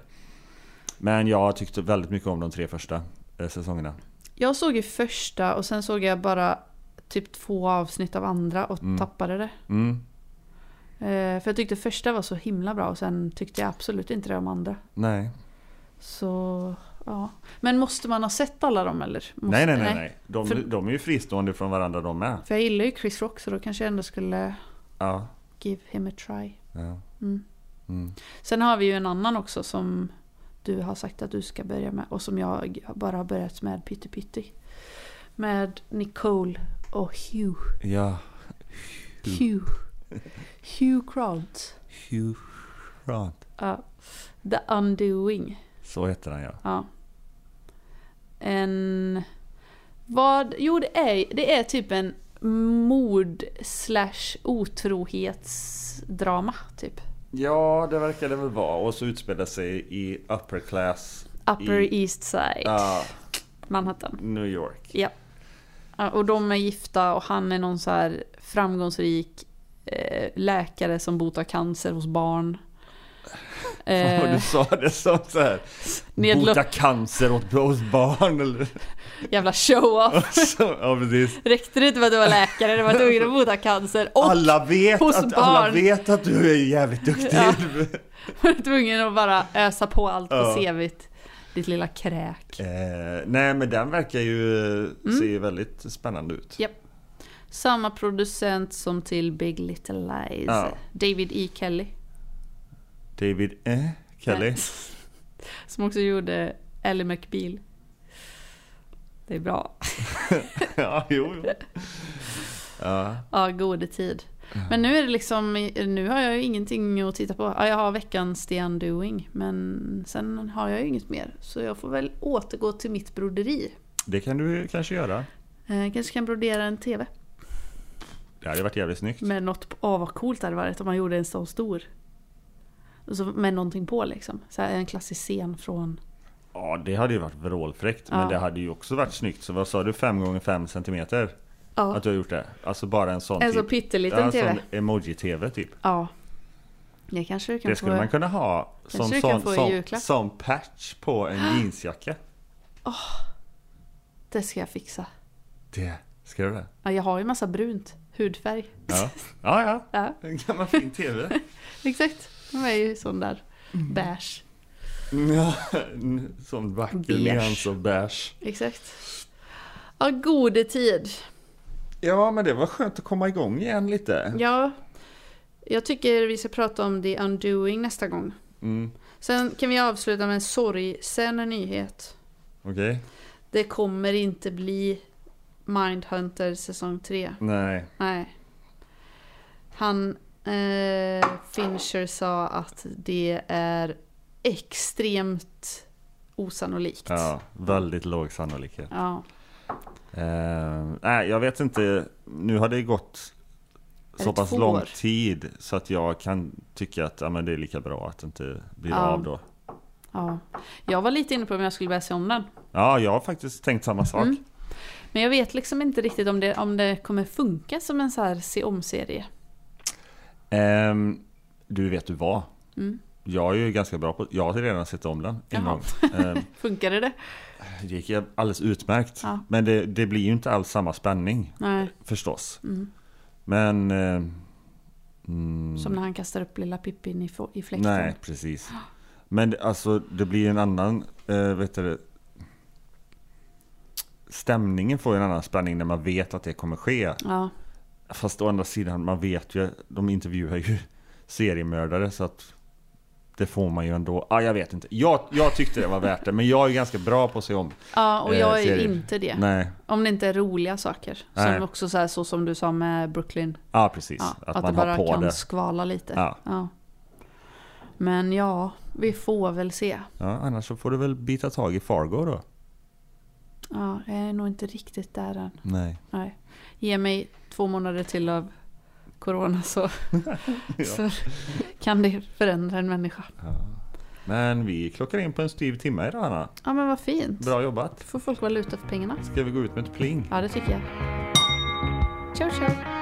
[SPEAKER 2] Men jag tyckte väldigt mycket om de tre första eh, säsongerna.
[SPEAKER 1] Jag såg ju första och sen såg jag bara typ två avsnitt av andra och
[SPEAKER 2] Mm.
[SPEAKER 1] tappade det.
[SPEAKER 2] Mm.
[SPEAKER 1] Ehm, För jag tyckte första var så himla bra och sen tyckte jag absolut inte det om andra.
[SPEAKER 2] Nej.
[SPEAKER 1] Så, ja. Men måste man ha sett alla dem eller? Måste,
[SPEAKER 2] nej, nej, nej, nej. De,
[SPEAKER 1] För-
[SPEAKER 2] de är ju fristående från varandra de med.
[SPEAKER 1] För jag gillar ju Chris Rock så då kanske jag ändå skulle
[SPEAKER 2] Ja.
[SPEAKER 1] give him a try.
[SPEAKER 2] ja.
[SPEAKER 1] Mm.
[SPEAKER 2] Mm.
[SPEAKER 1] Sen har vi ju en annan också som du har sagt att du ska börja med och som jag bara har börjat med pytte pytte. Med Nicole och Hugh.
[SPEAKER 2] Ja.
[SPEAKER 1] Hugh. Hugh Grant.
[SPEAKER 2] Hugh Grant.
[SPEAKER 1] Ja. The Undoing.
[SPEAKER 2] Så heter han ja.
[SPEAKER 1] Ja. En... Vad? Jo, det är, det är typ en mord slash otrohetsdrama. Typ.
[SPEAKER 2] Ja, det verkar det väl vara. Och så utspelar sig i upper class.
[SPEAKER 1] Upper
[SPEAKER 2] I-
[SPEAKER 1] East Side.
[SPEAKER 2] Ja,
[SPEAKER 1] Manhattan.
[SPEAKER 2] New York.
[SPEAKER 1] Ja, och de är gifta och han är någon så här framgångsrik eh, läkare som botar cancer hos barn.
[SPEAKER 2] Fan vad du
[SPEAKER 1] Eh,
[SPEAKER 2] sa det som så här.
[SPEAKER 1] nedlå-
[SPEAKER 2] Bota cancer åt hos barn eller
[SPEAKER 1] jävla show-off.
[SPEAKER 2] så. Ja, precis.
[SPEAKER 1] Räckte det inte med att du var läkare, du var tvungen att bota cancer och
[SPEAKER 2] Alla vet,
[SPEAKER 1] hos
[SPEAKER 2] att, alla
[SPEAKER 1] barn.
[SPEAKER 2] vet att du är jävligt duktig.
[SPEAKER 1] Ja. var tvungen att bara ösa på allt på
[SPEAKER 2] Ja.
[SPEAKER 1] CVt. Ditt lilla kräk.
[SPEAKER 2] Eh, nej, men den verkar ju eh,
[SPEAKER 1] Mm.
[SPEAKER 2] se väldigt spännande ut.
[SPEAKER 1] Samma producent som till Big Little Lies.
[SPEAKER 2] Ja.
[SPEAKER 1] David E. Kelly.
[SPEAKER 2] David eh, Kelly.
[SPEAKER 1] Som också gjorde Ellie McBeal. Det är bra.
[SPEAKER 2] ja, jo, jo. Ja.
[SPEAKER 1] Ja, gode tid. Men nu är det liksom, nu har jag ju ingenting att titta på. Ja, jag har veckans The Undoing, men sen har jag ju inget mer. Så jag får väl återgå till mitt broderi.
[SPEAKER 2] Det kan du kanske göra.
[SPEAKER 1] Eh, kanske kan brodera en TV.
[SPEAKER 2] Det hade varit jävligt snyggt.
[SPEAKER 1] Med något, åh vad coolt det hade varit om man gjorde en sån stor. Och så med någonting på liksom. Så här, en klassisk scen från,
[SPEAKER 2] Ja, det hade ju varit vrålfräckt.
[SPEAKER 1] Ja.
[SPEAKER 2] Men det hade ju också varit snyggt. Så vad sa du? 5 gånger 5 centimeter?
[SPEAKER 1] ja,
[SPEAKER 2] Att du har gjort det? Alltså bara en sån
[SPEAKER 1] en så
[SPEAKER 2] typ.
[SPEAKER 1] pytteliten TV.
[SPEAKER 2] sån emoji-tv typ.
[SPEAKER 1] Ja. Det kanske du kan
[SPEAKER 2] det
[SPEAKER 1] få.
[SPEAKER 2] skulle man kunna ha som,
[SPEAKER 1] du kan
[SPEAKER 2] sån,
[SPEAKER 1] få i
[SPEAKER 2] som,
[SPEAKER 1] julklapp.
[SPEAKER 2] som patch på en jeansjacka.
[SPEAKER 1] Det ska jag fixa.
[SPEAKER 2] Det, ska du det?
[SPEAKER 1] Ja, jag har ju massa brunt, hudfärg.
[SPEAKER 2] Ja, ja. ja.
[SPEAKER 1] Ja.
[SPEAKER 2] En gammal fin tv.
[SPEAKER 1] Exakt, de är ju sån där beige.
[SPEAKER 2] Ja, en sån vacker
[SPEAKER 1] Beige.
[SPEAKER 2] nyans av beige.
[SPEAKER 1] Exakt. Ja, gode tid.
[SPEAKER 2] Ja, men det var skönt att komma igång igen lite.
[SPEAKER 1] Ja, jag tycker vi ska prata om The Undoing nästa gång.
[SPEAKER 2] Mm,
[SPEAKER 1] Sen kan vi avsluta med en sorgsen nyhet.
[SPEAKER 2] Okej.
[SPEAKER 1] Det kommer inte bli Mindhunter säsong 3.
[SPEAKER 2] Nej.
[SPEAKER 1] Nej. Han, eh, Fincher sa att det är extremt osannolikt.
[SPEAKER 2] Ja, väldigt låg sannolikhet.
[SPEAKER 1] ja.
[SPEAKER 2] Eh, nej, jag vet inte. Nu har det gått
[SPEAKER 1] det
[SPEAKER 2] så pass
[SPEAKER 1] två
[SPEAKER 2] lång
[SPEAKER 1] år?
[SPEAKER 2] tid så att jag kan tycka att ja, men det är lika bra att det inte blir
[SPEAKER 1] Ja.
[SPEAKER 2] av då.
[SPEAKER 1] ja. Jag var lite inne på om jag skulle börja se om den.
[SPEAKER 2] Ja, jag har faktiskt tänkt samma sak.
[SPEAKER 1] Mm. Men jag vet liksom inte riktigt om det, om det kommer funka som en så här se om-serie.
[SPEAKER 2] Ehm, du vet du vad?
[SPEAKER 1] Mm.
[SPEAKER 2] Jag är ju ganska bra på Jag har redan sett om den en
[SPEAKER 1] Jaha.
[SPEAKER 2] gång. Ehm,
[SPEAKER 1] Funkade det?
[SPEAKER 2] det gick ju alldeles utmärkt.
[SPEAKER 1] Ja.
[SPEAKER 2] Men det, det blir ju inte alls samma spänning
[SPEAKER 1] Nej.
[SPEAKER 2] förstås.
[SPEAKER 1] Mm.
[SPEAKER 2] Men... ehm, mm,
[SPEAKER 1] Som när han kastar upp lilla Pippin i, få- i fläkten.
[SPEAKER 2] nej, precis. Men det- alltså det blir en annan, eh, vet du det, Stämningen får ju en annan spänning när man vet att det kommer ske.
[SPEAKER 1] Ja.
[SPEAKER 2] Fast å andra sidan, man vet ju, de intervjuar ju seriemördare så att det får man ju ändå. Ah, jag vet inte. Jag, jag tyckte det var värt det, men jag är ganska bra på att se om.
[SPEAKER 1] ja, och
[SPEAKER 2] Eh,
[SPEAKER 1] jag är
[SPEAKER 2] serier.
[SPEAKER 1] inte det.
[SPEAKER 2] Nej,
[SPEAKER 1] Om det inte är roliga saker.
[SPEAKER 2] Nej.
[SPEAKER 1] Som också så, här, så som du sa med Brooklyn.
[SPEAKER 2] ja ah, precis.
[SPEAKER 1] Ja,
[SPEAKER 2] att,
[SPEAKER 1] att
[SPEAKER 2] man
[SPEAKER 1] det bara
[SPEAKER 2] har på
[SPEAKER 1] kan
[SPEAKER 2] det.
[SPEAKER 1] skvala lite.
[SPEAKER 2] Ja.
[SPEAKER 1] Men ja, vi får väl se.
[SPEAKER 2] Ja, annars så får du väl bita tag i Fargo då.
[SPEAKER 1] Ja, jag är nog inte riktigt där än.
[SPEAKER 2] Nej.
[SPEAKER 1] Nej. Ge mig två månader till av corona så, så kan det förändra en människa.
[SPEAKER 2] Men vi klockar in på en styv timme idag Anna.
[SPEAKER 1] Ja men vad fint.
[SPEAKER 2] Bra jobbat.
[SPEAKER 1] Får folk valuta för pengarna?
[SPEAKER 2] Ska vi gå ut med ett pling?
[SPEAKER 1] Ja det tycker jag. Ciao ciao.